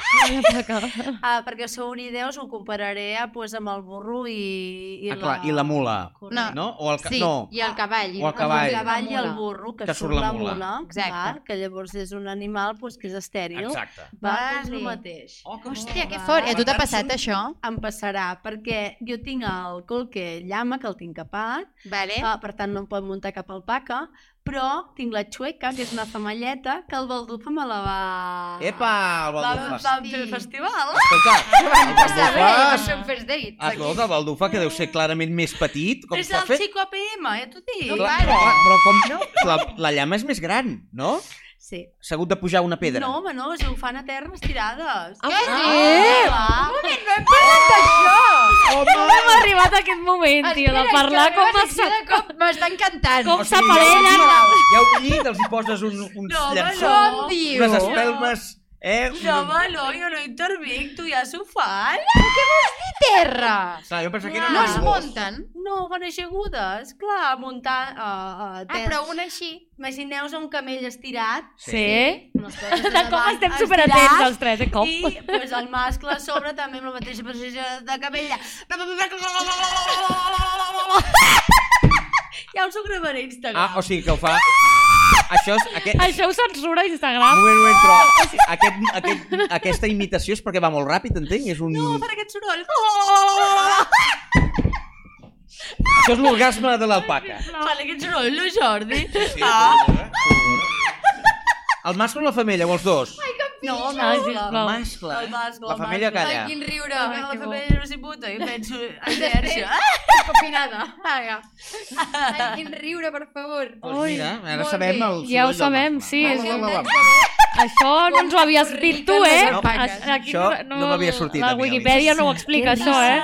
D: Ah, perquè sou unideus, ho compararé a, pues, amb el burro i...
B: Ah, clar, i la mula.
D: Correcte.
B: No? O el, ca...
F: Sí,
B: no.
F: i el cavall.
B: O el cavall.
D: El cavall i el
F: mula.
D: burro, que,
B: Que surt la mula.
F: Exacte.
D: Val? Que llavors és un animal pues, que és estèril.
B: Exacte.
D: Va, és el
F: Vale.
D: mateix.
B: Oh,
F: Eh, Hòstia, que fort. I a tu t'ha passat això?
D: Em passarà, perquè jo tinc el colque llama, que el tinc capat,
F: Vale.
D: eh? uh, per tant no em pot muntar cap alpaca, però tinc la xueca, que és una femelleta, que el Baldufa me la va...
B: Epa, el
D: Va, va,
B: Baldufas.
D: va fer el festival.
B: Escolta, el
F: Està bé,
B: Baldufas...
F: són first dates.
B: Escolta, el Baldufa, que deu ser clarament més petit, Ah, com
D: és
B: s'ha
D: el
B: fet...
D: Chico APM, ja eh, t'ho dic.
F: No,
B: Clar,
F: pare.
B: però, però com... La, la llama és més gran, no?
D: Sí.
B: S'ha hagut de pujar una pedra.
D: No, home, no, es ho fan a terres tirades.
F: Què
D: Ah,
F: dius?
D: clar.
C: Hem arribat a aquest moment, tio, de
F: Espera,
C: parlar
F: que
C: com
F: arriba
C: s'ha...
F: així de cop M'està encantant.
C: Com
B: O
C: s'ha
B: sigui, ja ho
C: parella...
B: dic, Ja ho llit, els hi poses un, uns
D: No, home,
B: llençons,
F: Com diu?
B: unes espelmes... Eh? un-
D: No, home, no, jo no intervinc, tu ja s'ho fan.
F: Terra!
B: Clar, jo pensava que era
F: No
B: un
F: es
B: gos.
F: munten.
D: No, van aixegudes, clar, muntant... Uh, uh,
F: Ah, però una així.
D: Imagineu-vos un camell estirat,
C: Sí?
D: unes coses
C: De com
D: davant,
C: estem
D: estirat,
C: superatents els tres, de cop.
D: I pues, el mascle a sobre també amb la mateixa posició de cabella. Ja us ho gravaré a Instagram.
B: Ah, o sigui que ho fa... Això és... Aquest...
C: Això ho censura Instagram.
B: Un moment, un moment, però aquest, aquest, aquesta imitació és perquè va molt ràpid, entenc? És un...
D: No, per aquest soroll.
B: Això és l'orgasme de l'alpaca.
D: Per aquest soroll, no, Jordi?
B: El mascle o la femella, o els dos?
D: No, home,
C: Ai,
D: clar.
B: El
C: sisplau.
B: mascle.
D: El mascle,
B: La
D: el
B: femella
D: mascle.
B: calla.
F: Ai, quin riure.
D: Però
F: Ai,
D: la
F: que bo.
D: família no s'hi puta i penso Ah! a Sergi.
F: Copinada. Vinga. Ai, quin riure, per favor.
B: Doncs mira, ara
F: Molt
B: sabem el
F: bé.
B: soroll
C: Ja ho
B: del
C: sabem,
B: mascle.
C: sí,
B: Va,
C: és
B: va, va, va, va.
C: Això no ens ho havies dit tu, eh?
F: No,
C: A- Aquí
B: això no m'havia sortit
C: La
B: a mi,
C: Wikipedia no ho explica, això, eh?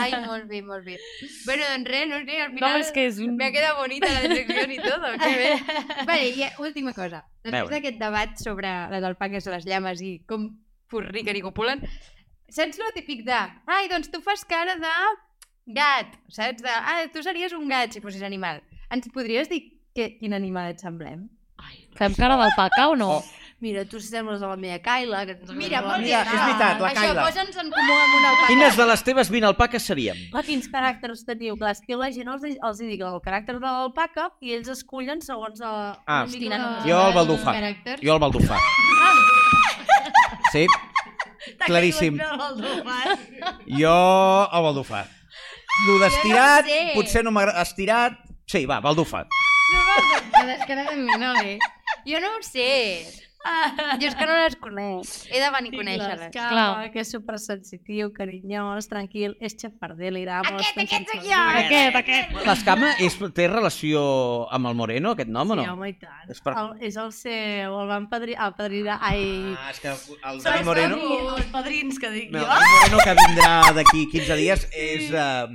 F: Ai, molt bé, molt bé. Bueno, doncs res, no sé, al
C: No,
F: final...
C: és que és un...
F: Me ha quedado bonita la descripción y todo, que [laughs] bé. Vale, i eh, última cosa. Després
B: Veure.
F: d'aquest debat sobre les alpaques o les llames i com forriquen i copulen, saps lo típic de... Ai, doncs tu fas cara de gat, saps? De, ah, tu series un gat si fossis animal. Ens podries dir que, quin animal et semblem?
C: Fem cara d'alpaca o no?
B: Oh.
D: Mira, tu sembles a la meva Kaila. Que ens
F: Mira,
D: agrada la
F: molt bé.
B: Mira, és veritat, la
F: Això,
B: Kaila.
F: posa'ns en comú amb una alpaca.
B: Quines de les teves 20 alpaques seríem?
D: Clar, quins caràcters teniu? Clar, és que la gent els, els hi dic el caràcter de l'alpaca i ells escullen segons la...
B: Ah,
D: una mica la-
B: Jo el Baldufa.
F: Caràcter.
B: Jo el Baldufà. Sí,
D: T'ha
B: claríssim.
D: caigut el Baldufà.
B: jo el Baldufà. Lo d'estirat,
F: sé.
B: potser no m'agrada... Estirat, sí, va, Baldufa.
F: Descaradament, ole. eh? Jo no ho sé.
D: Ah.
F: Jo és que no les conec. He de venir a
D: Conèixer-les.
F: conèixer-les.
C: Clar.
D: Que és supersensitiu, carinyós, tranquil, és xafarder, li agrada
F: Aquest, aquest sóc jo.
B: eh,
C: Aquest, aquest.
B: L'escama és, té relació amb el Moreno, aquest nom, o
D: Sí,
B: no?
D: home, i tant.
B: És per-
D: el, és el seu, el van padri... ah, padrinar... Ai,
B: Ah, és que el
D: Són
B: Dani
D: els
B: Moreno...
D: padrins, Els padrins que Oh! dic
B: No,
D: jo.
B: el Moreno que vindrà d'aquí 15 dies és... eh,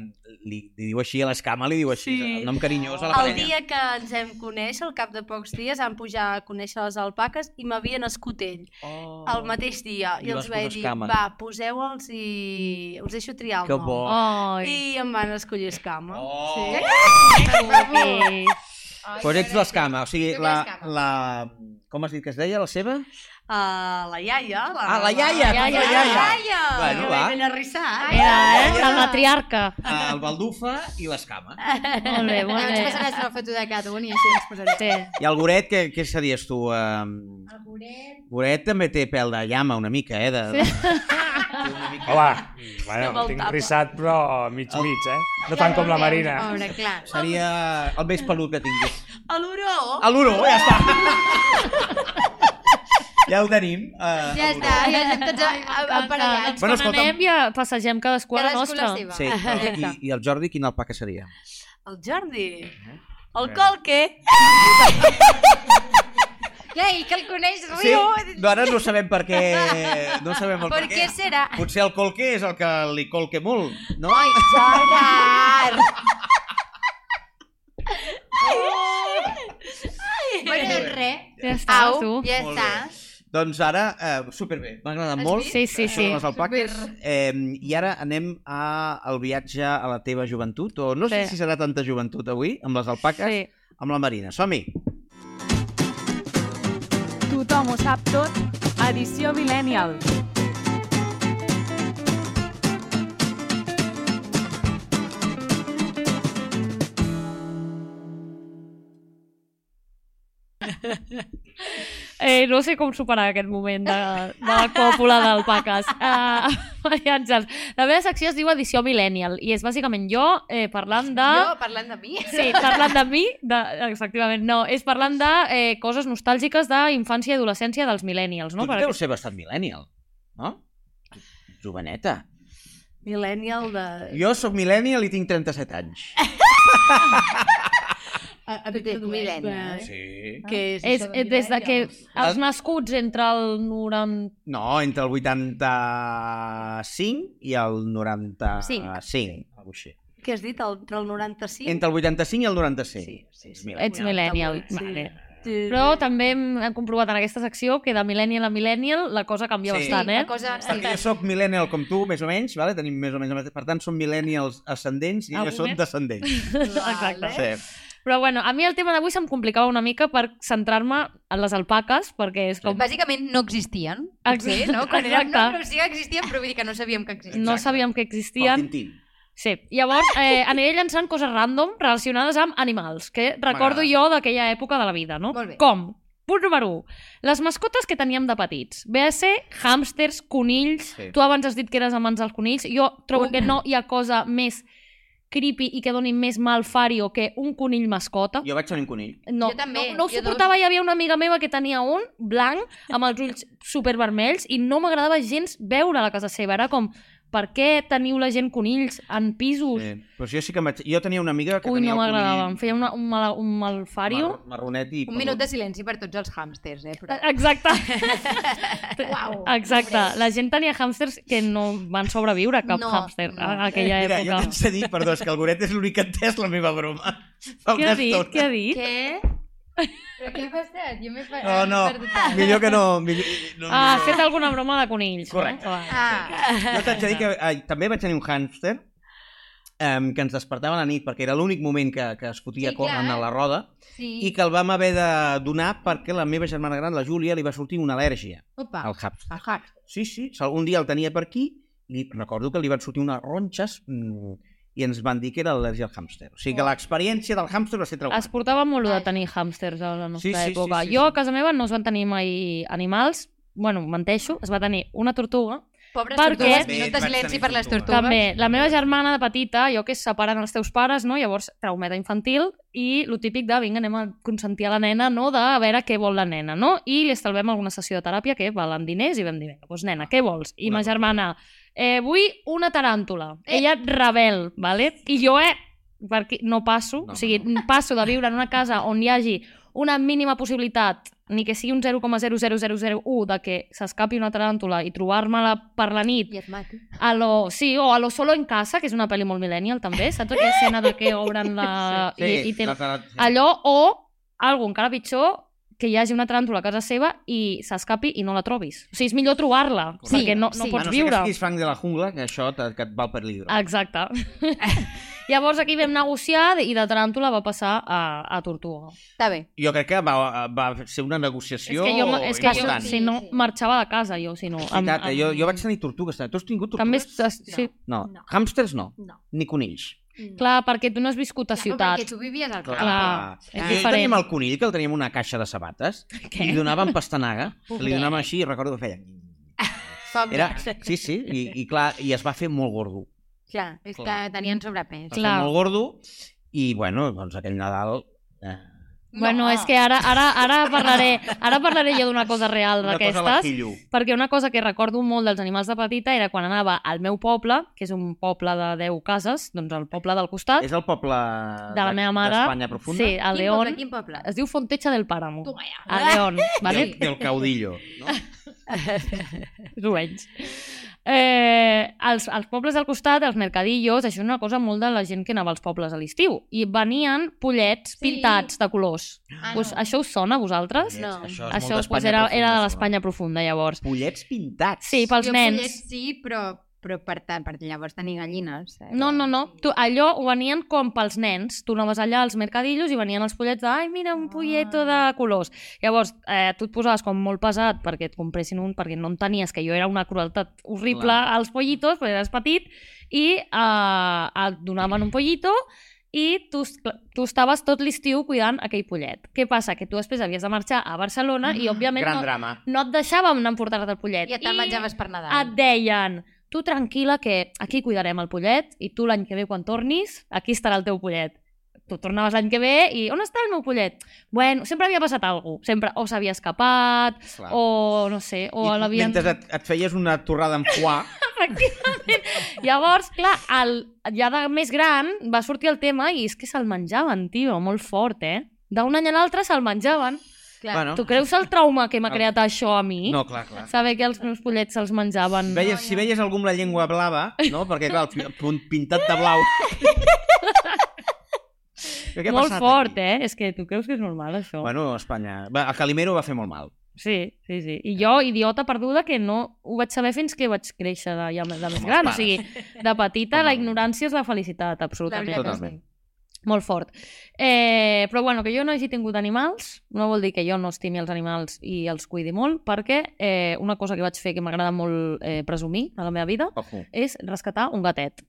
B: li, li diu així a l'escama, li diu així,
D: Sí.
B: el nom carinyós a la
D: El
B: parella.
D: dia que ens hem conèixer, al cap de pocs dies, vam pujar a conèixer les alpaques i m'havia nascut ell,
B: Oh,
D: el mateix dia.
B: I
D: I, els
B: vas
D: vaig
B: posar
D: dir,
B: escama.
D: va, poseu-los i us deixo triar el
B: Que
D: nom.
B: bo.
C: Oh, Ai,
D: I em van escollir escama.
B: Oh.
C: guapi.
B: Doncs ets l'escama, o sigui,
F: Tu
B: la,
F: l'escama.
B: la... Com has dit que es deia, la seva?
D: Uh, la iaia. La,
B: Ah, la iaia,
C: La
B: doncs
C: iaia.
B: la iaia.
D: iaia.
B: Bueno,
D: Que
B: va.
D: ben arrissat.
C: Era, eh? La matriarca.
B: Ah, El baldufa i l'escama.
C: Molt bé, molt
F: Ens
C: bé.
F: passaràs una foto de cada un i així ens posarem.
C: Sí.
B: I el goret, què, què series tu? Um... El goret... Goret també té pèl de llama una mica, eh? De... Sí.
I: Home, bueno,
D: Se'm el
I: tinc
D: tapa.
I: rissat, però mig, mig, eh? No tant com la Marina.
F: Pobre, clar.
B: Seria el més pelut que tinguis.
D: A l'Uro.
B: A l'uro, ja està. ja ho tenim. Uh,
F: Ja està, ja estem tots a- a-
C: Doncs
F: aparellats.
B: Bueno,
C: quan
B: escolta'm.
C: anem ja passegem cadascú a la
F: Cadascú la
C: nostra.
F: seva.
B: Sí, i, i el Jordi, quin alpaca seria?
D: El Jordi.
B: Eh?
D: El Colque.
F: Què, i que el coneix,
B: Sí,
F: riu.
B: no, ara no sabem per què... No sabem el
F: oh. Per què serà?
B: Potser el colque és el que li colque molt, no?
F: Ai, Gerard! Bueno, doncs res.
C: Ja està,
F: Au,
C: tu.
F: ja
B: Molt
F: està.
B: Doncs ara, eh, superbé, m'ha agradat
F: Has
B: molt.
F: vist?
C: Sí, sí, sí.
B: Són les alpaques. Eh, I ara anem a- al viatge a la teva joventut, o no sé
C: Sí.
B: si serà tanta joventut avui, amb les alpaques,
C: Sí.
B: amb la Marina. Som-hi!
A: Tothom ho sap tot, edició Millennial.
C: Eh, no sé com superar aquest moment de, de la còpula
F: [laughs]
C: d'alpaques. Uh, Maria Àngels, la meva secció es diu Edició Millennial i és bàsicament jo eh, parlant de...
F: Jo, parlant de mi.
C: Sí, parlant de mi, de, efectivament, no, és parlant de eh, coses nostàlgiques d'infància i adolescència dels millennials, no?
B: No, tu deus ser bastant millennial, no? Joveneta.
D: Millennial de...
B: Jo sóc millennial i tinc 37 anys.
F: Tu ets millennial.
D: eh?
B: Sí. Ah.
D: Que és,
C: és
D: això de
C: eh, des de que
D: millennials.
C: els nascuts entre el 90...
B: No, entre el 85 i el 95. alguna cosa així.
D: Què has dit? Entre el 95?
B: Entre el 85 i el 95.
D: Sí, sí, sí.
B: Mira,
C: Ets millennial.
D: Sí.
C: Vale.
D: Sí.
C: Però també hem, hem comprovat en aquesta secció que de millennial a millennial la cosa canvia
B: Sí.
C: sí, bastant, eh?
F: La cosa... Sí.
B: Perquè jo sóc millennial com tu, més o menys, vale? tenim més o menys... la mateixa- Per tant, som millennials ascendents i
C: Algú
B: jo són
C: més? [laughs]
B: descendents.
C: Exacte.
B: Sí.
F: eh?
C: Però bueno, a mi el tema d'avui se'm complicava una mica per centrar-me en les alpaques, perquè és com...
F: Bàsicament no existien.
C: Exacte.
F: Potser, no? Quan érem, no,
C: Exacte.
F: no, sí que existien, però vull dir que no sabíem que existien.
C: No
B: Exacte.
C: sabíem que
B: Pel
C: existien.
B: Tintín.
C: Sí. Llavors, eh, aniré llançant coses random relacionades amb animals, que recordo
B: M'agrada.
C: jo d'aquella època de la vida, no?
F: Molt bé.
C: Com? Punt número 1. Les mascotes que teníem de petits. Ve a ser hàmsters, conills...
B: Sí.
C: Sí. Tu abans has dit que eres amants dels conills. Jo trobo que no hi ha cosa més creepy i que doni més mal fario que un conill mascota.
B: Jo vaig tenir un conill.
C: No,
F: Jo també,
C: no, no ho
F: jo dos.
C: suportava, hi havia una amiga meva que tenia un blanc amb els ulls supervermells i no m'agradava gens veure a la casa seva, era com per què teniu la gent conills en pisos?
B: Sí. Eh, Però jo sí que em vaig... Jo tenia una amiga que
C: Ui,
B: tenia
C: no
B: el
C: m'agradava, em
B: conill...
C: feia una, un, mal, un malfario.
B: mar- Marronet i...
F: Un minut de silenci per tots els hàmsters, eh? Però... [laughs]
C: Exacte,
F: Uau.
C: exacte. La gent tenia hàmsters que no van sobreviure cap
F: No,
C: hàmster
F: no.
C: a aquella
B: Mira, jo
C: època.
B: t'haig de dir, perdó, és que el Goret és l'únic que ha entès la meva broma. [laughs] Fa
C: Què
B: una
C: ha dit?
B: estona.
C: Què ha dit?
F: Què? Però què ha passat? Jo m'he
B: No, no, millor que no. Millor,
C: [laughs]
B: no
C: Ah, has
B: millor.
C: fet alguna broma de conills.
B: Correcte.
C: No? Ah.
F: Ah,
B: Jo t'haig de dir que ai, també vaig tenir un hàmster um, que ens despertava a la nit perquè era l'únic moment que, que es fotia
F: Sí,
B: sí, corren
F: clar.
B: a la roda
F: sí.
B: i que el vam haver de donar perquè la meva germana gran, la Júlia, li va sortir una al·lèrgia
F: Opa,
C: Ah.
B: al hàmster.
F: el hack.
B: Sí, sí, se- un dia el tenia per aquí i recordo que li van sortir unes ronxes mm, i ens van dir que era al·lèrgia al hàmster. O sigui
C: Oh.
B: que l'experiència del hàmster va ser
C: Es
B: traumàtica.
C: portava molt de tenir hàmsters a la nostra
B: Sí, sí, sí,
C: època.
B: sí, sí.
C: jo a casa meva no es van tenir mai animals, bueno, menteixo, es va tenir una tortuga.
F: Pobres
C: Per què?
F: tortugues, minut de
B: Vaig
F: silenci
B: tenir
F: per les
B: tortugues.
F: tortugues.
C: També, la meva germana de petita, jo que es separen els teus pares, no? llavors traumeta infantil, i lo típic de, vinga, anem a consentir a la nena, no? de a veure què vol la nena, no? I li estalvem alguna sessió de teràpia que valen diners i vam dir, vinga, doncs nena, què vols? I
B: Una
C: ma
B: tortuga.
C: germana, eh, vull una taràntula.
F: Eh.
C: Ella rebel, vale? I jo, eh, per aquí no passo,
B: No,
C: no, o sigui,
B: no.
C: passo de viure en una casa on hi hagi una mínima possibilitat, ni que sigui un 0,00001 de que s'escapi una taràntula i trobar-me-la per la nit
F: I et mati.
C: a lo, sí, o a lo Solo en casa, que és una pel·li molt millennial també, saps aquella escena de que obren la...
B: [laughs] Sí,
C: i, i ten... Ah,
B: la- la- sí.
C: Allò, o algo encara pitjor, que hi hagi una tràntula a casa seva i s'escapi i no la trobis. O sigui, és millor trobar-la,
B: Correcte.
C: perquè no, no
F: Sí.
C: pots
B: a
C: Ah.
B: no ser
C: viure.
B: que siguis fang de la jungla, que això te, que et val per llibre.
C: Exacte.
B: [laughs]
C: [laughs] Llavors aquí vam negociar i de tràntula va passar a, a Tortuga.
F: Està bé.
B: Jo crec que va, va ser una
C: És
B: negociació
C: que jo, és que
B: Oh,
C: jo
B: important.
C: si no, marxava de casa, jo, si no.
B: Veritat, eh? jo, jo vaig tenir tortugues. també. Tu has tingut
C: També,
B: tortugues?
C: es- es- sí.
B: No.
E: No.
B: no. Hàmsters no.
E: No.
B: Ni conills.
C: Clar, perquè tu no has viscut a
F: Ciutat.
C: ciutat.
F: Perquè tu vivies al camp.
C: Clar, és
B: Jo
C: diferent.
B: Ah. teníem el conill, que el teníem en una caixa de sabates,
C: Què?
B: Què? i li donàvem pastanaga. Se li
F: Pobret.
B: donàvem així i recordo que feia...
F: Som
B: Era, sí, sí, i, i clar, i es va fer molt gordo.
F: Ja, és que tenien sobrepès.
B: Es va
C: Clar.
B: fer molt gordo, i bueno, doncs aquell Nadal... Eh,
C: Bueno,
F: ah.
C: és que ara, ara, ara parlaré, ara parlaré jo d'una cosa real
B: una cosa a la
C: d'aquestes,
B: quillo.
C: perquè una cosa que recordo molt dels animals de petita era quan anava al meu poble, que és un poble de 10 cases, doncs el poble del costat,
B: És el poble
C: de la meva mare,
B: d'Espanya profunda.
C: sí, a
F: Quin
C: León,
F: poble, Quin poble?
C: es diu Fontecha del Páramo,
F: Toma ja.
C: a
F: [laughs]
C: León, vale?
B: Del, del caudillo. No?
C: [laughs] més o menys. Eh, els, els pobles del costat, els mercadillos, això és una cosa molt de la gent que anava als pobles a l'estiu. I venien pollets
F: Sí.
C: pintats de colors.
F: Ah,
C: Us,
F: no.
C: això us sona a vosaltres?
B: Pollets,
F: No.
B: Això, és molt
C: Això pues,
B: d'Espanya
C: era,
B: profunda,
C: era de
B: això.
C: l'Espanya profunda, llavors.
B: Pollets pintats.
C: Sí, pels
F: jo
C: nens.
F: Pollets, sí, però, però per, tant, per llavors tenir gallines. Eh?
C: No, no, no. Tu, allò ho venien com pels nens. Tu anaves allà als mercadillos i venien els pollets de ai, mira,
B: Ah.
C: un polleto de colors. Llavors, eh, tu et posaves com molt pesat perquè et compressin un, perquè no entenies que jo era una crueltat horrible
B: Clar.
C: als pollitos, perquè eres petit, i eh, et donaven un pollito i tu, es- cl- tu estaves tot l'estiu cuidant aquell pollet. Què passa? Que tu després havies de marxar a Barcelona i, òbviament,
B: Ah, Gran
C: no,
B: drama.
C: no et deixàvem anar a emportar-te el pollet.
F: I et te'l menjaves per
C: et
F: Nadal.
C: deien tu tranquil·la que aquí cuidarem el pollet i tu l'any que ve quan tornis, aquí estarà el teu pollet. Tu tornaves l'any que ve i on està el meu pollet? Bueno, sempre havia passat alguna cosa. Sempre o s'havia escapat,
B: Clar.
C: o no sé, o
B: I
C: l'havien...
B: Mentre et, et feies una torrada en foie,
C: Efectivament. [laughs] Llavors, clar, el, ja de més gran va sortir el tema i és que se'l menjaven, tio, molt fort, eh? D'un any a l'altre se'l menjaven.
F: Clar.
B: bueno...
C: Tu creus el trauma que m'ha
B: Ah.
C: creat això a mi?
B: No, clar, clar.
C: Saber que els meus pollets se'ls menjaven.
B: Veies, si veies algú amb la llengua blava, no? Perquè, clar, el pi- punt pintat de blau... Què ha
C: molt
B: passat
C: fort,
B: aquí?
C: eh? És que tu creus que és normal, això?
B: Bueno, Espanya... Va, a Calimero va fer molt mal.
C: Sí, sí, sí. I
F: Eh.
C: jo, idiota perduda, que no ho vaig saber fins que vaig créixer de, ja, de més
B: els
C: gran. O
B: pares.
C: sigui, de petita, la ignorància és la felicitat,
F: La
C: absolutament.
F: veritat és
B: Totalment.
C: Molt fort. Eh, però bueno, que jo no hagi tingut animals no vol dir que jo no estimi els animals i els cuidi molt, perquè eh, una cosa que vaig fer que m'agrada molt eh, presumir a la meva vida
B: Ojo.
C: és rescatar un gatet.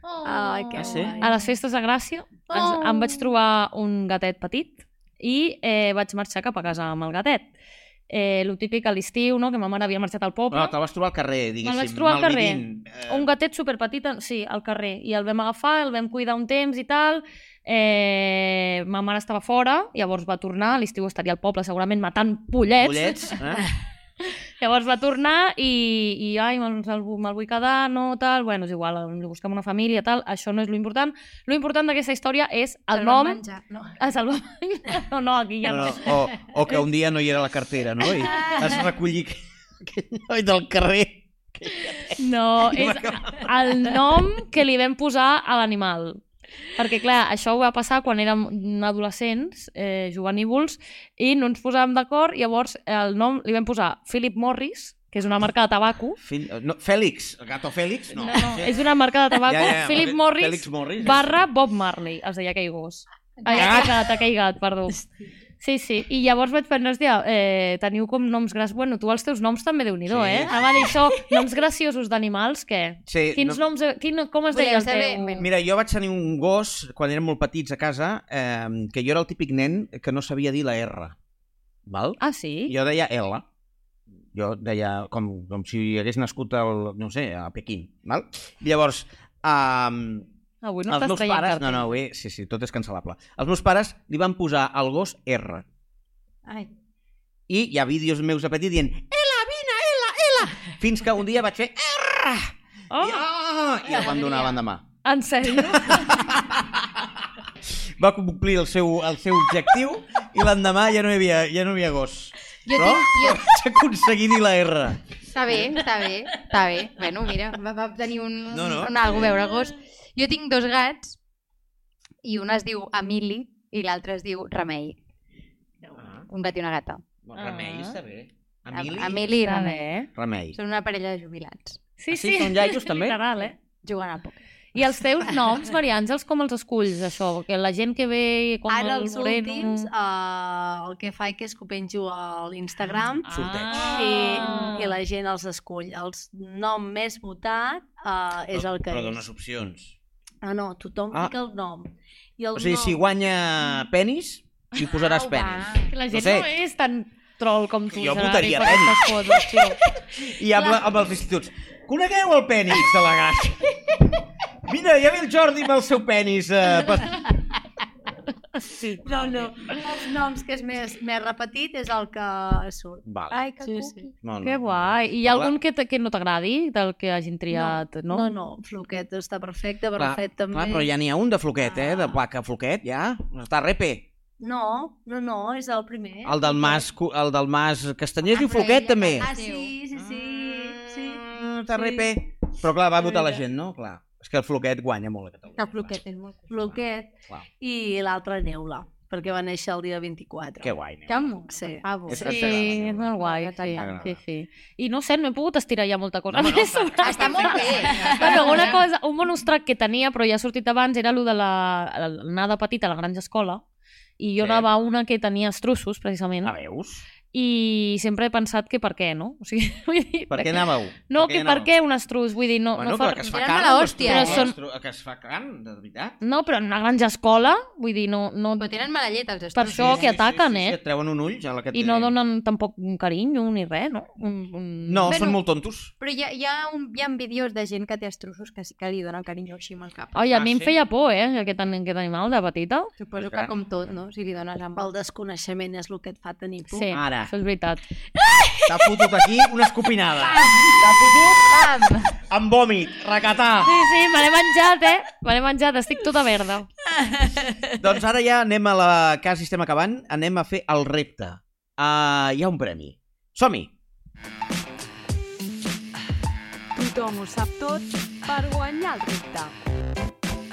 F: Oh,
D: Ai, que
B: Ah, sí?
D: guai.
C: A les festes de Gràcia ens, em vaig trobar un gatet petit i eh, vaig marxar cap a casa amb el gatet. Eh, lo típic a l'estiu, no? que ma mare havia marxat al poble.
B: No, te'l vas trobar al carrer, diguéssim.
C: Me'l vaig trobar al carrer.
B: malvivint, Eh,
C: un gatet superpetit, en- sí, al carrer. I el vam agafar, el vam cuidar un temps i tal. Eh, ma mare estava fora, llavors va tornar, a l'estiu estaria al poble segurament matant pollets.
B: Pollets, eh?
C: Llavors va tornar i, i ai, me'l me'l vu- me'l vull quedar, no, tal... Bueno, és igual, li busquem una família, tal, això no és lo important. Lo important d'aquesta història és el
F: Te'l van
C: nom...
F: menjar. No.
C: Es el va... No, no, aquí [laughs] ja
B: No,
C: no.
B: no. O, o que un dia no hi era la cartera, no? I has recollir aquell noi del carrer.
C: No, és el nom que li vam posar a l'animal. Perquè, clar, això ho va passar quan érem adolescents, eh, juvenívols, i no ens posàvem d'acord, llavors el nom li vam posar Philip Morris, que és una marca de tabaco.
B: Fin... No, Fèlix, el gato Fèlix? No, no,
C: És una marca de tabaco, ja, ja, Philip Morris,
B: Fèlix Morris.
C: barra Bob Marley, es deia aquell gos. Ai, aquell gat, aquell gat, perdó. Sí, sí, i llavors vaig pensar, hòstia, eh, teniu com noms graciosos... Bueno, tu els teus noms també, Déu-n'hi-do,
B: Sí.
C: eh? Ara va dir això, noms graciosos d'animals, què?
B: Sí,
C: Quins
B: no-
C: noms... Quin, com es
F: Volia
C: deia el
F: saber-
C: teu?
F: Bueno.
B: Mira, jo vaig tenir un gos, quan érem molt petits a casa, eh, que jo era el típic nen que no sabia dir la R. Val?
C: Ah, sí?
B: Jo deia L. Jo deia com, com si hagués nascut al, no sé, a Pequín. Val? Llavors, um,
C: Avui no
B: no els
C: estàs
B: meus
C: traient
B: pares...
C: cartes.
B: No, no, bé, sí, sí, tot és cancel·lable. Els meus pares li van posar al gos R.
D: Ai.
B: I hi ha vídeos meus a petit dient Ela, vine, Ela, Ela! Fins que un dia vaig fer R! I,
C: Oh,
B: oh, I el van donar l'endemà.
C: en sèrio?
B: va complir el seu, el seu objectiu i l'endemà ja no hi havia, ja no hi havia gos.
F: Jo
B: Però
F: tinc- jo-
B: [laughs] vaig aconseguir dir la R.
F: Està bé, està bé, està bé. Bueno, mira, va, va tenir un,
B: No, no.
F: un algo a veure el gos. Jo tinc dos gats i un es diu Emili i l'altre es diu Remei. Un gat i una gata.
B: Bon,
C: remei, està
B: bé.
F: Emili i
C: Està
F: Remei.
C: bé.
B: Remei.
F: Són una parella de jubilats.
C: eh? Sí,
B: Ah, sí?
C: sí.
B: Són iaios, també?
C: Literal, eh?
F: Juguen a poc.
C: I els teus noms, Maria Àngels, com els esculls, això? Que la gent que ve com
D: Ara
C: el
D: els
C: Moreno...
D: últims uh, el que faig és que ho penjo a l'Instagram
C: Ah,
B: Sorteig.
D: i, i la gent els escull. Els nom més votat uh, és el que
B: Però
D: és.
B: dones opcions.
D: Ah, no, tothom
B: Ah.
D: ah. fica el nom. I el
B: O sigui,
D: nom...
B: si guanya penis, hi
C: Ah,
B: posaràs penis.
C: Oh, Que la gent
B: No
C: no,
B: sé.
C: no és tan troll com tu,
B: Jo
C: Gerard, i
B: votaria
C: per aquestes coses,
B: [laughs]
C: tio.
B: I amb, la- amb els instituts. Conegueu el penis de la gata. Mira, ja ve el Jordi amb el seu penis. Eh, per...
C: Sí.
D: No, no. Els noms que és més, més repetit és el que surt.
B: Vale.
F: Ai, que
D: Sí,
F: sí,
D: sí.
F: sí.
B: No, no.
C: Que guai. I hi ha algun que, t- que no t'agradi, del que hagin triat, no?
D: No, no, floquet està perfecte,
B: Clar,
D: barrafet també.
B: Clar, però ja n'hi ha un de floquet, eh? De placa floquet, ja. Està repe.
D: No, no, no, és el primer.
B: El del Mas, Cu- el del Mas Castanyers
F: Ah,
B: diu
F: però
B: Floquet,
F: ella-
B: també.
D: Ah, sí, sí, sí. sí.
B: Mm, TRP. Però clar, va votar la gent, no? Clar. És que el Floquet guanya molt a Catalunya.
F: El bloquet és molt...
D: Floquet
B: Clar.
D: i l'altre Neula, perquè va néixer el dia 24.
B: Que guai,
F: Que
B: Neus.
F: molt.
D: Sí.
F: Bravo.
B: És
F: Sí.
B: que
C: Sí,
B: t'agrada,
C: és
B: no?
C: molt guai, sí,
B: T'agrada.
C: sí, sí. I no sé, no he pogut estirar ja molta cosa.
B: No, no,
C: més sobre
F: Està molt bé.
C: Bueno, una cosa, un monostrac que tenia, però ja ha sortit abans, era el de la- anar de petit a la granja escola, i jo
B: Sí.
C: anava a una que tenia estrussos, precisament,
B: A Ah, veus?
C: i sempre he pensat que per què, no? O sigui, [laughs] vull dir,
B: Per què anàveu?
C: No,
B: hi
C: que per
B: anàveu?
C: què un estrus? Vull dir, no,
B: bueno,
C: no
B: però que es fa
F: Eren
B: carn,
F: mala
B: les
F: hòstia,
B: truques,
C: eh? Són-
B: les tru- que es fa carn, de veritat.
C: No, però en una granja escola, vull dir, no... no...
F: Però tenen mala llet els
C: Per
F: estrus.
C: això que ataquen,
B: sí, sí,
C: eh?
B: Et treuen un ull, ja la que et
C: I no
B: deien.
C: donen tampoc un carinyo ni res, no? Un, un...
B: No,
F: Bueno.
B: són molt tontos.
E: Però hi ha, hi, ha un, hi ha vídeos de gent que té estrussos que sí que li donen carinyo així amb el cap.
C: Ai, a
B: Ah,
C: mi em
B: sí?
C: feia por, eh, aquest, an- aquest animal de petita.
E: Suposo
B: És
E: que
B: gran.
E: com tot, no? Si li dones amb...
D: El desconeixement és el que et fa tenir por.
C: Sí,
B: Ara.
C: això és veritat.
B: T'ha fotut aquí una escopinada. T'ha fotut amb vòmit, recatà.
C: Sí, sí, me l'he menjat, eh? Me l'he menjat, estic tota verda.
B: Doncs ara ja anem a la casa i estem acabant. Anem a fer el repte. Uh, hi ha un premi. Som-hi.
A: Tothom ho sap tot per guanyar el repte.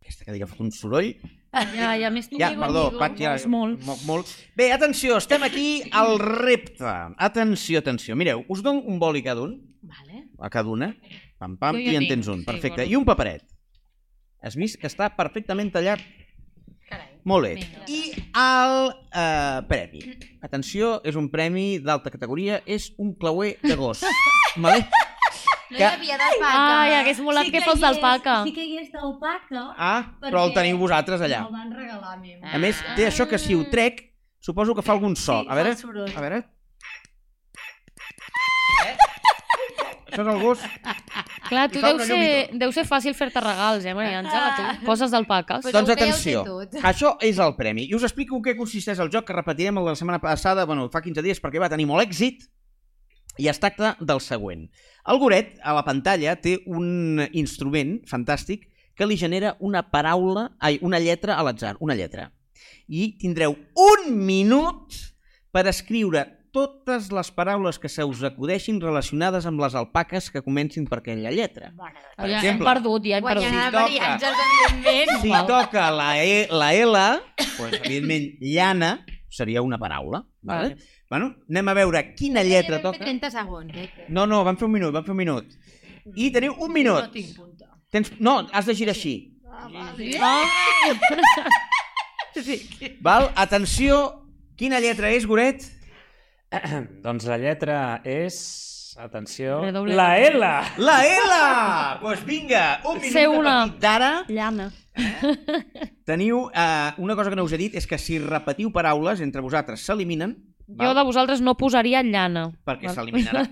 B: Aquesta que diga fot un soroll.
C: Ja, ja m'estic
B: Ja, perdó, vaig ja...
C: És molt.
B: Molt, molt. Bé, atenció, estem aquí al repte. Atenció, atenció. Mireu, us dono un boli cada un,
C: Vale.
B: a cada una. Pam, pam,
C: Jo
B: i
C: ja
B: en
C: tinc,
B: tens un.
C: sí,
B: Perfecte.
C: bueno.
B: I un paperet. Has vist que està perfectament tallat
F: Carai.
B: Molt bé.
F: Vinga.
B: I el eh, premi. Atenció, és un premi d'alta categoria, és un clauer de
C: [laughs]
B: gos. vale?
F: No
B: Que-
F: hi havia d'alpaca.
C: Ai, hagués molat sí que, fos
E: hi és,
C: d'alpaca.
E: Sí que hi és d'alpaca.
B: Ah, però el teniu vosaltres allà.
E: Me'l van regalar a mi.
D: Eh.
B: A més, té això que
C: ah.
B: si ho trec, suposo que fa algun so. A veure,
E: Fa soroll.
B: a veure. Eh? Això és el gos?
C: Clar, tu
B: I fa
C: deu
B: una llum i
C: ser, deu ser fàcil fer-te regals, eh, Maria Àngela, tu? Coses d'alpaques.
F: Però
B: doncs
F: ho veus i
B: atenció,
F: tot.
B: això és el premi. I us explico en què consisteix el joc, que repetirem el de la setmana passada, bueno, fa 15 dies, perquè va tenir molt èxit, i es tracta del següent. El goret, a la pantalla, té un instrument fantàstic que li genera una paraula, ai, una lletra a l'atzar, una lletra. I tindreu un minut per escriure totes les paraules que se us acudeixin relacionades amb les alpaques que comencin per aquella lletra. Per
C: ja, hem
B: exemple,
C: perdut, ja hem
F: Guanyarà
C: perdut.
B: Si
F: Maria
B: toca.
F: Àngels, evidentment.
B: si toca la, e, la L, doncs, evidentment, llana seria una paraula. Vale?
C: Vale.
B: Bueno, anem a veure quina lletra
F: Ja vam fer
B: toca.
F: 30 segons. Eh?
B: No, no, vam fer un minut, vam fer un minut. I teniu un minut. Ah, Tens... No, has de girar així. Ah. Val? Atenció, quina lletra és, Goret?
I: Doncs la lletra és... Atenció...
C: Redoble.
I: La L!
B: La L! Doncs pues vinga, un minut
C: Sé
B: a
C: una.
B: partir d'ara.
C: Llana.
B: Teniu eh, una cosa que no us he dit, és que si repetiu paraules entre vosaltres s'eliminen, val?
C: Jo de vosaltres no posaria llana.
B: perquè
C: Val.
B: s'eliminarà.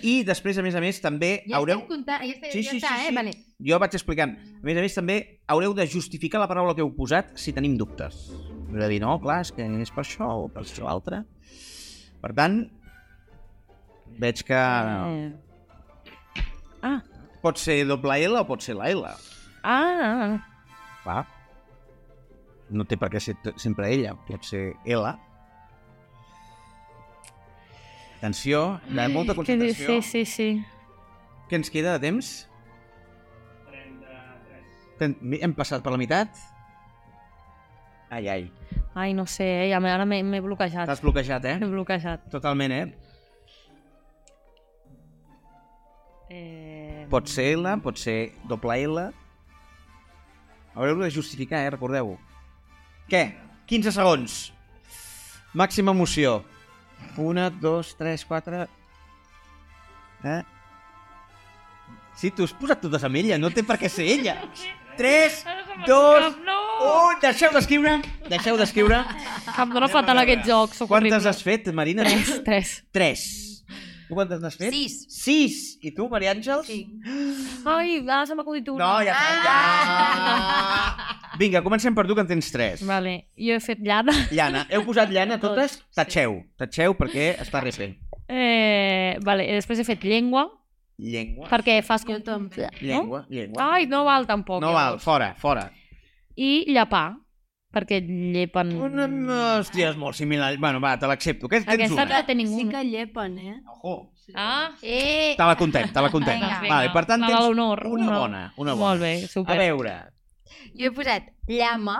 B: I després, a més a més, també
F: Ja
B: haureu...
F: estem comptant, ja, està,
B: Sí,
F: ja
B: sí,
F: està,
B: sí,
F: eh?
B: sí.
F: Vale.
B: Jo vaig explicant. A més a més, també haureu de justificar la paraula que heu posat si tenim dubtes. Heu de dir, no, clar, és que és per això o per això altre. Per tant, veig que
C: Eh.
B: pot ser doble L o pot ser la L.
C: Ah,
B: Clar. No té per què ser t- sempre ella, pot ser L. Atenció, de molta
C: que dius,
B: concentració.
C: ah. sí, sí, sí.
B: Què ens queda de temps? 33. Hem passat per la meitat? Ai, ai.
C: Ai, no sé, eh? ja m'he- ara m'he m'he bloquejat.
B: T'has bloquejat,
C: [laughs] M'he
B: eh?
C: bloquejat.
B: Totalment, eh?
C: Eh...
B: Pot ser L, pot ser doble L. Haureu de justificar, eh? Recordeu-ho. Què? 15 segons. Màxima emoció. 1, 2, 3, 4... Eh? Sí, t'ho has posat totes amb ella, no té per què ser ella. 3, 2,
C: No!
B: 1... Deixeu d'escriure, deixeu d'escriure.
C: Oh! Em dóna fatal aquest joc, sóc
B: Quantes
C: horrible.
B: has fet, Marina?
C: Tres, tres.
B: 3. Tu quantes n'has fet?
F: Sis.
B: 6. I tu, Maria Àngels?
C: Ai, ah, se m'ha acudit una. Ah!
B: No, ja està. Ja. Vinga, comencem per tu, que en tens 3.
C: Vale, jo he fet llana. [laughs]
B: Llana. Heu posat llana totes? Tatxeu. Tatxeu perquè està re bé.
C: Eh, vale, i després he fet llengua,
B: Llengua.
C: perquè fas com... No?
B: Llengua. Llengua.
C: Ai, no val tampoc.
B: No val,
C: llavors.
B: fora, fora.
C: I llepar, perquè llepen...
B: Una, hòstia, és molt similar. Bueno, va, te l'accepto. Què tens
C: Aquesta
B: una?
C: no té ningú.
D: Sí que llepen, eh?
B: Ojo.
C: Ah,
F: Eh,
B: Te la contem, te la contem.
F: Vinga.
B: Vale, per tant,
C: Me
B: tens
C: val
B: una
C: honor, una.
B: bona. Una bona.
C: Molt bé, super.
B: A veure.
F: jo he posat llama.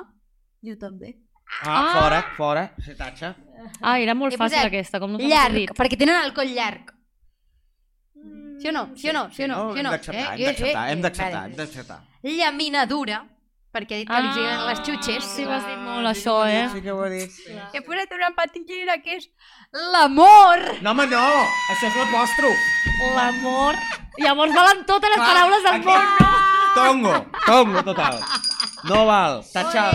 D: Jo també.
B: Ah,
C: Ah.
B: fora, fora. Se tatxa.
C: Ah, era molt
F: He
C: fàcil
F: posat
C: aquesta, com no t'ho has
F: Llarg,
C: dit.
F: perquè tenen el coll llarg. Sí o no? Sí o no? Sí o no? Sí o
B: Hem
F: no?
B: d'acceptar, Mm,
F: Eh,
B: hem d'acceptar,
F: eh, eh,
B: hem d'acceptar,
F: vale.
B: hem d'acceptar.
F: Llaminadura, perquè ha dit que li siguen les xutxes.
C: Ah. Sí, ho has dit molt, això, eh?
B: Ah. Sí que ho he dit.
F: He posat una patillera que és l'amor.
B: No, home, no! Això és l'apòstrof.
C: L'amor. Llavors valen totes les
B: Clar,
C: paraules del
B: aquí-
C: món, no?
B: Tongo, tongo total. No val, tachada.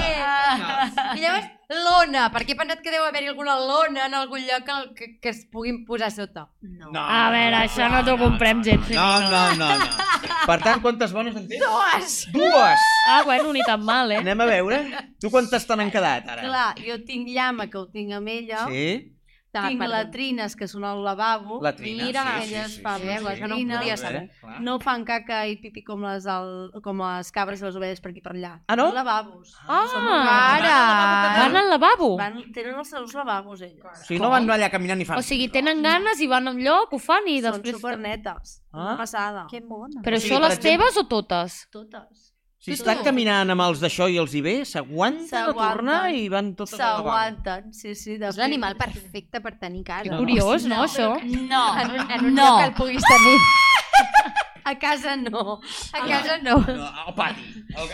F: I llavors, lona, perquè he pensat que deu haver-hi alguna lona en algun lloc que, que, que es puguin posar sota.
B: No,
C: A veure, això no t'ho comprem gens,
B: No, no, no, no. Per tant, quantes bones en tens?
F: Dues!
B: Dues!
C: Ah, bueno, ni tan mal, eh?
B: Anem a veure. Tu quantes te n'han quedat, ara?
D: Clar, jo tinc llama, que ho tinc amb ella. Sí.
B: Sí?
D: Tinc
F: perdó.
D: latrines, que són al lavabo.
B: La Trina,
D: Mira,
B: sí, sí,
D: elles
B: sí,
D: fan
B: sí,
D: les
B: sí.
F: Això no ho
D: latrines.
F: podia
B: A
F: saber.
B: veure,
E: Ah.
B: clar.
D: No fan caca i pipi com les, el, com les cabres i les ovelles per aquí per allà.
B: Ah, no?
D: Són Lavabos.
C: Ah,
D: Són
C: Van
F: Ara!
C: al lavabo.
D: Van, tenen els seus lavabos,
B: O
D: elles.
B: sigui, no van allà caminant ni fan...
C: O sigui, tenen ganes i van a un lloc, ho fan i
D: Són
C: després...
D: supernetes.
B: Ah.
D: Ah? Passada.
E: Que mona.
C: Però
B: O sigui,
C: això
B: per
C: les
B: exemple-
C: teves o totes?
D: Totes.
B: Si estan caminant amb els d'això i els hi ve, s'aguanten a
D: S'aguanten.
B: tornar i van totes a la
D: S'aguanten, sí, sí.
F: És l'animal perfecte per tenir casa.
C: Curiós, no, això?
F: No. En un, en un no. lloc que el puguis tenir. A casa no. A casa no.
B: No, al pati, al,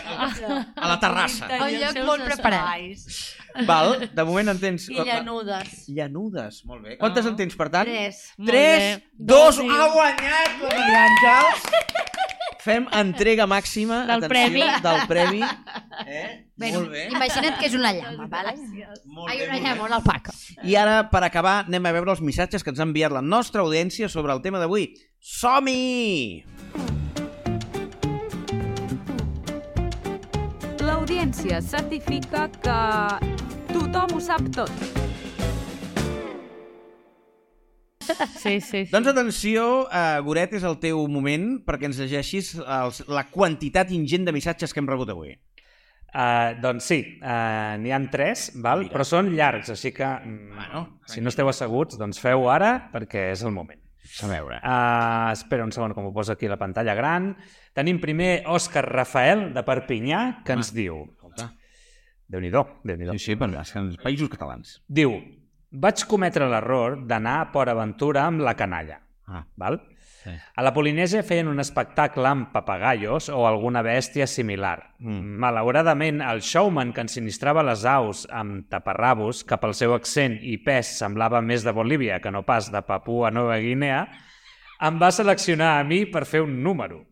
B: al, a la terrassa.
F: Un lloc molt preparat.
B: Val, de moment en tens...
D: I llanudes.
B: Llanudes, molt bé. Quantes en tens, per tant?
D: Tres.
C: Molt
B: 3,
C: bé. Doncs
B: 2,
C: Dos,
B: ha guanyat la Maria Àngels. Fem entrega màxima
C: Del
B: atenció,
C: premi.
B: del premi. Eh? molt bé.
F: Imagina't que és una llama, vale?
B: Molt
F: Ai,
B: bé,
F: una
B: molt bé.
F: llama, una alpaca.
B: I ara, per acabar, anem a veure els missatges que ens ha enviat la nostra audiència sobre el tema d'avui. Som-hi!
A: L'audiència certifica que tothom ho sap tot.
C: Sí, sí. sí.
B: Doncs atenció, uh, Goret, és el teu moment perquè ens llegeixis els, la quantitat ingent de missatges que hem rebut avui.
I: Uh, doncs sí, uh, n'hi han tres, val?
B: Mira.
I: però són llargs, així que mm,
B: Bueno,
I: si no esteu asseguts, doncs feu ara perquè és el moment.
B: A veure. ah,
I: Uh, espera un segon, com ho posa aquí a la pantalla gran. Tenim primer Òscar Rafael, de Perpinyà, que ens diu... Déu-n'hi-do, Déu-n'hi-do.
B: sí, per als països catalans.
I: Diu, vaig cometre l'error d'anar a Port Aventura amb la canalla.
B: Ah.
I: Val?
B: Sí.
I: A la Polinèsia feien un espectacle amb papagaios o alguna bèstia similar.
B: Mm.
I: Mm. Malauradament, el showman que ensinistrava les aus amb taparrabos, que pel seu accent i pes semblava més de Bolívia que no pas de Papua Nova Guinea, em va seleccionar a mi per fer un número.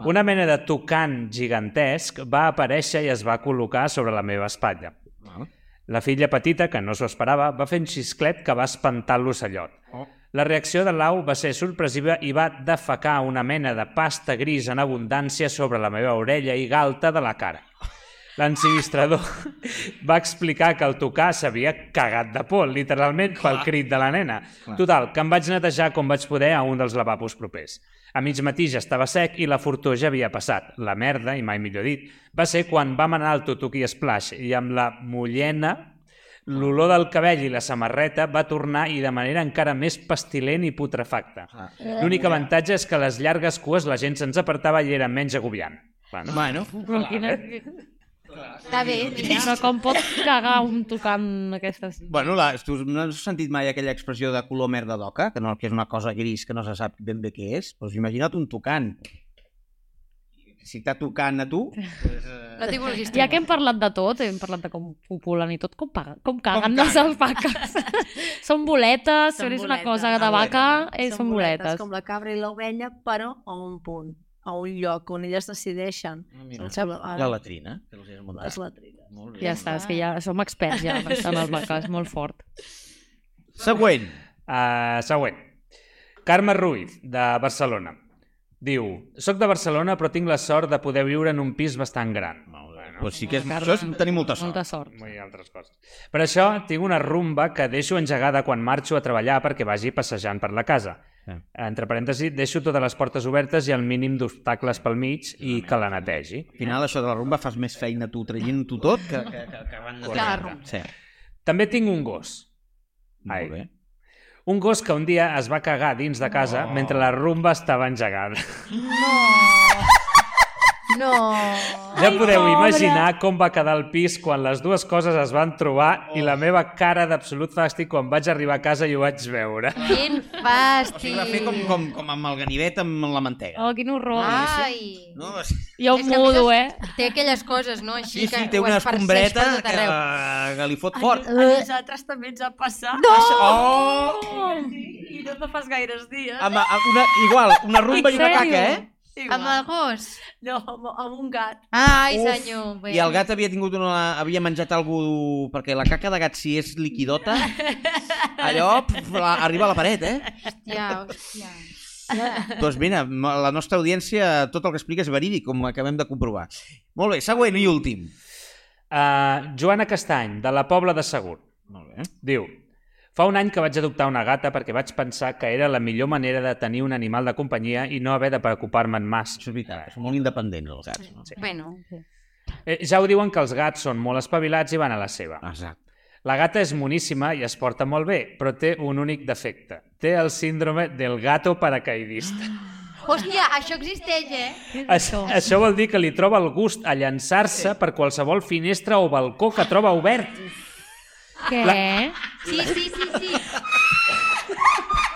I: Una mena de tocant gigantesc va aparèixer i es va col·locar sobre la meva espatlla.
B: Ah.
I: La filla petita, que no s'ho esperava, va fer un xisclet que va espantar l'ocellot.
B: Oh.
I: La reacció de l'au va ser sorpresiva i va defecar una mena de pasta gris en abundància sobre la meva orella i galta de la cara. L'ensinistrador va explicar que el tocar s'havia cagat de por, literalment, pel crit de la nena.
B: Clar.
I: Total, que em vaig netejar com vaig poder a un dels lavabos propers. A mig matí ja estava sec i la fortor ja havia passat. La merda, i mai millor dit, va ser quan vam anar al Tutuki Splash i amb la mullena L'olor del cabell i la samarreta va tornar i de manera encara més pestilent i putrefacta.
B: Ah.
I: L'únic avantatge és que a les llargues cues la gent se'ns apartava i era menys agobiant. Bueno,
B: Bueno,
C: Però quina...
F: Està bé. mira.
C: Però com pot cagar un tocant aquestes...
B: bueno la, tu no has sentit mai aquella expressió de color merda d'oca, que, no, que és una cosa gris que no se sap ben bé què és, doncs imagina't un tocant. Si t'ha tocant a tu, eh,
F: No t'hi vulguis.
C: Ja que hem parlat de tot, hem parlat de com copulen i tot, com, paga, com caguen
B: Com
C: les
B: caguen.
C: alpaques. són boletes, són és una
D: boletes,
C: cosa de
B: són
C: vaca,
B: boletes.
C: eh, són boletes.
D: Com la cabra i l'ovella, però a un punt, a un lloc on elles decideixen.
B: Ah, mira,
D: Em sembla,
B: la
D: ara,
B: latrina, que els has muntat.
D: les latrines.
B: Molt bé.
C: Ja està, és que ja som experts ja en alpaques, molt fort.
B: Següent.
I: uh, següent. Carme Ruiz, de Barcelona. Diu, soc de Barcelona però tinc la sort de poder viure en un pis bastant gran. Molt bé,
B: Pues sí que és, això és tenir molta sort.
C: Molta sort.
I: i altres coses. Per això tinc una rumba que deixo engegada quan marxo a treballar perquè vagi passejant per la casa.
B: Sí.
I: Entre parèntesis, deixo totes les portes obertes i el mínim d'obstacles pel mig i que la netegi.
B: Al final, això de la rumba, fas més feina tu traient-ho tot que, que, que, que van de
I: la
B: rumba. Sí,
I: També tinc un gos. Ai.
B: molt bé.
I: Un gos que un dia es va cagar dins de casa mentre la rumba estava engegada.
F: No.
I: Ja podeu imaginar com va quedar el pis quan les dues coses es van trobar oh. i la meva cara d'absolut fàstic quan vaig arribar a casa i ho vaig veure.
F: Quin
B: O
F: fàstic.
B: sigui, va fer com, com, com amb el ganivet amb la mantega.
C: Oh, quin horror. Ah,
F: Ai.
B: No? O sigui,
C: jo
F: És
C: ho
F: que a més
C: mudo, eh?
F: es- Té aquelles coses, no?
B: Sí,
F: Així
B: sí,
F: que
B: té
F: ho
B: una
F: esparceix
B: escombreta
F: per tot
B: que,
F: arreu.
B: que li fot fort.
E: A nosaltres també ens ha passat.
B: No! Oh!
E: I no te fas gaires dies.
B: Amb, amb una, igual, una rumba i una
C: En sèrio?
B: caca, eh?
E: Igual.
F: Amb el gos.
E: No, amb, amb un gat.
F: Ai,
B: Uf.
F: senyor. Bé.
B: I el gat havia tingut una... havia menjat algú... perquè la caca de gat, si és
F: [laughs]
B: liquidota, allò pf, la, arriba a la paret, eh?
F: Hòstia, hòstia.
B: Doncs mira, m- la nostra audiència, tot el que explica és verídic, com acabem de comprovar. Molt bé, següent i últim.
I: Uh, Joana Castany, de la Pobla de Segur,
B: Molt bé.
I: diu Fa un any que vaig adoptar una gata perquè vaig pensar que era la millor manera de tenir un animal de companyia i no haver de preocupar-me'n massa.
B: Això és veritat, són molt independents els gats. No?
F: Bueno,
I: Eh, ja ho diuen que els gats són molt espavilats i van a la seva.
B: Exacte.
I: La gata és moníssima i es porta molt bé, però té un únic defecte. Té el síndrome del gato paracaidista.
F: Hòstia, això existeix, eh?
I: Això, això vol dir que li troba el gust a llançar-se per qualsevol finestra o balcó que troba obert.
C: Què?
F: Sí, sí, sí, sí.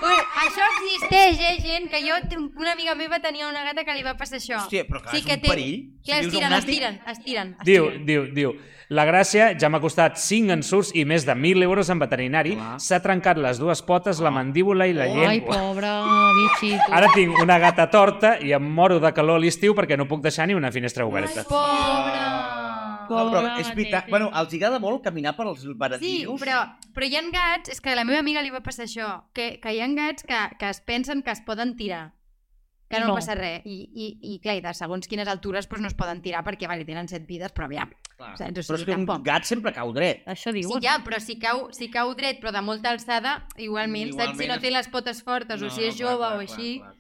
F: Ui, això existeix, eh, gent? Que jo, una amiga meva tenia una gata que li va passar això.
B: Hòstia, però clar, és un
F: té-
B: perill. Si vius a
F: Clar, es
B: un
F: tiren, es
B: àtic-
F: tiren, es tiren. es
I: Diu,
F: tiren.
I: diu, diu, la gràcia ja m'ha costat 5 ensurts i més de 1.000 euros en veterinari,
B: Clar.
I: s'ha trencat les dues potes, la mandíbula i la
C: Ai,
I: llengua.
C: pobre bitxito.
I: Ara tinc una gata torta i em moro de calor a l'estiu perquè no puc deixar ni una finestra oberta.
F: Pobre!
B: No, però
C: Pobre
B: és veritat.
C: gatete.
B: Bueno, els agrada molt caminar per als
F: Sí,
B: baradius.
F: però, però hi ha gats, és que a la meva amiga li va passar això, que, que hi ha gats que, que es pensen que es poden tirar, que
C: I
F: no,
C: no.
F: passa res. I, i, i clar, i de segons quines altures doncs, no es poden tirar perquè vale, tenen set vides, però aviam.
B: Clar.
F: Saps? O
B: Però és
F: sigui,
B: que un
F: tampoc.
B: gat sempre cau dret.
C: Això
F: Sí,
C: diuen.
F: ja, però si cau, si cau dret però de molta alçada, igualment, igualment saps? Si
B: Igualment
F: no
B: es-
F: té les potes fortes no, o si és jove o així...
B: clar.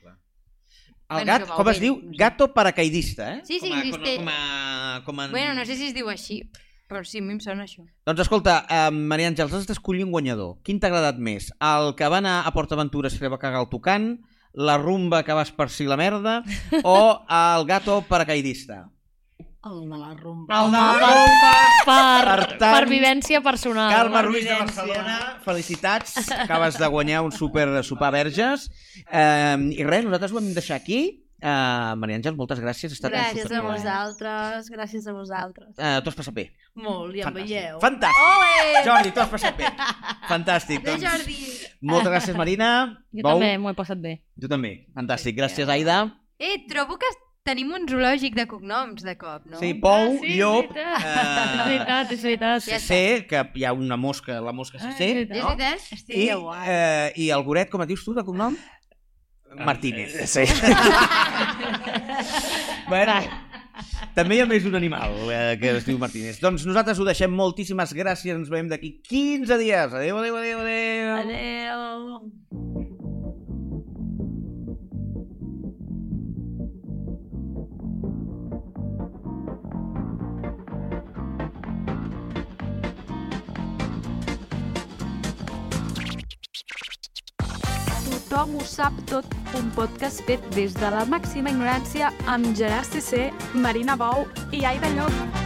B: El
F: Bueno,
B: gat,
F: que va
B: com es
F: obert,
B: diu?
F: no sé.
B: Gato paracaidista, eh?
F: Sí, sí,
B: com a,
F: existeix.
B: Com a, com a...
F: Bueno, no sé si es diu així, però sí, a mi em sona això.
B: Doncs escolta, eh, Maria Àngels, has d'escollir un guanyador. Quin t'ha agradat més? El que va anar a PortAventura se li va cagar el tocant, la rumba que va esparcir la merda o el gato paracaidista?
D: El de la rumba.
B: El de la rumba!
C: Per,
B: Per
C: per,
B: tant,
C: per vivència personal.
B: Carme Ruiz de Barcelona, felicitats, acabes de guanyar un super sopar verges. Eh, I res, nosaltres ho hem de deixar aquí. Eh, Maria Àngels, moltes gràcies. Ha estat
E: Gràcies a
B: superbé.
E: vosaltres, gràcies a vosaltres.
B: Eh, T'ho has passat bé.
D: Molt, ja
B: Fantàstic.
D: veieu.
B: Fantàstic. Ole! Jordi, t'ho has passat bé. Fantàstic.
F: De
B: Doncs,
F: Jordi!
B: moltes gràcies, Marina.
C: Jo
B: Bou.
C: també m'ho he passat bé.
B: Jo també. Fantàstic. Gràcies, Aida.
F: Eh, trobo que tenim un zoològic de cognoms de cop, no?
B: Sí, Pou,
C: Ah, sí,
B: Llop,
C: és veritat. És
B: [laughs] eh,
C: veritat, és veritat.
F: Ja
B: C, que hi ha una mosca, la mosca se
C: Ah,
B: sé,
C: és
F: És
B: no?
F: veritat?
B: I, eh, I el Goret, com et dius tu, de cognom? Martínez.
I: Sí.
B: [laughs] Bueno, també hi ha més d'un animal eh, que es diu Martínez. Doncs nosaltres ho deixem. Moltíssimes gràcies. Ens veiem d'aquí 15 dies. Adéu, adéu, adéu, adéu.
E: Adeu.
A: Tothom ho sap tot, un podcast fet des de la màxima ignorància amb Gerard CC, Marina Bou i Aida Llop.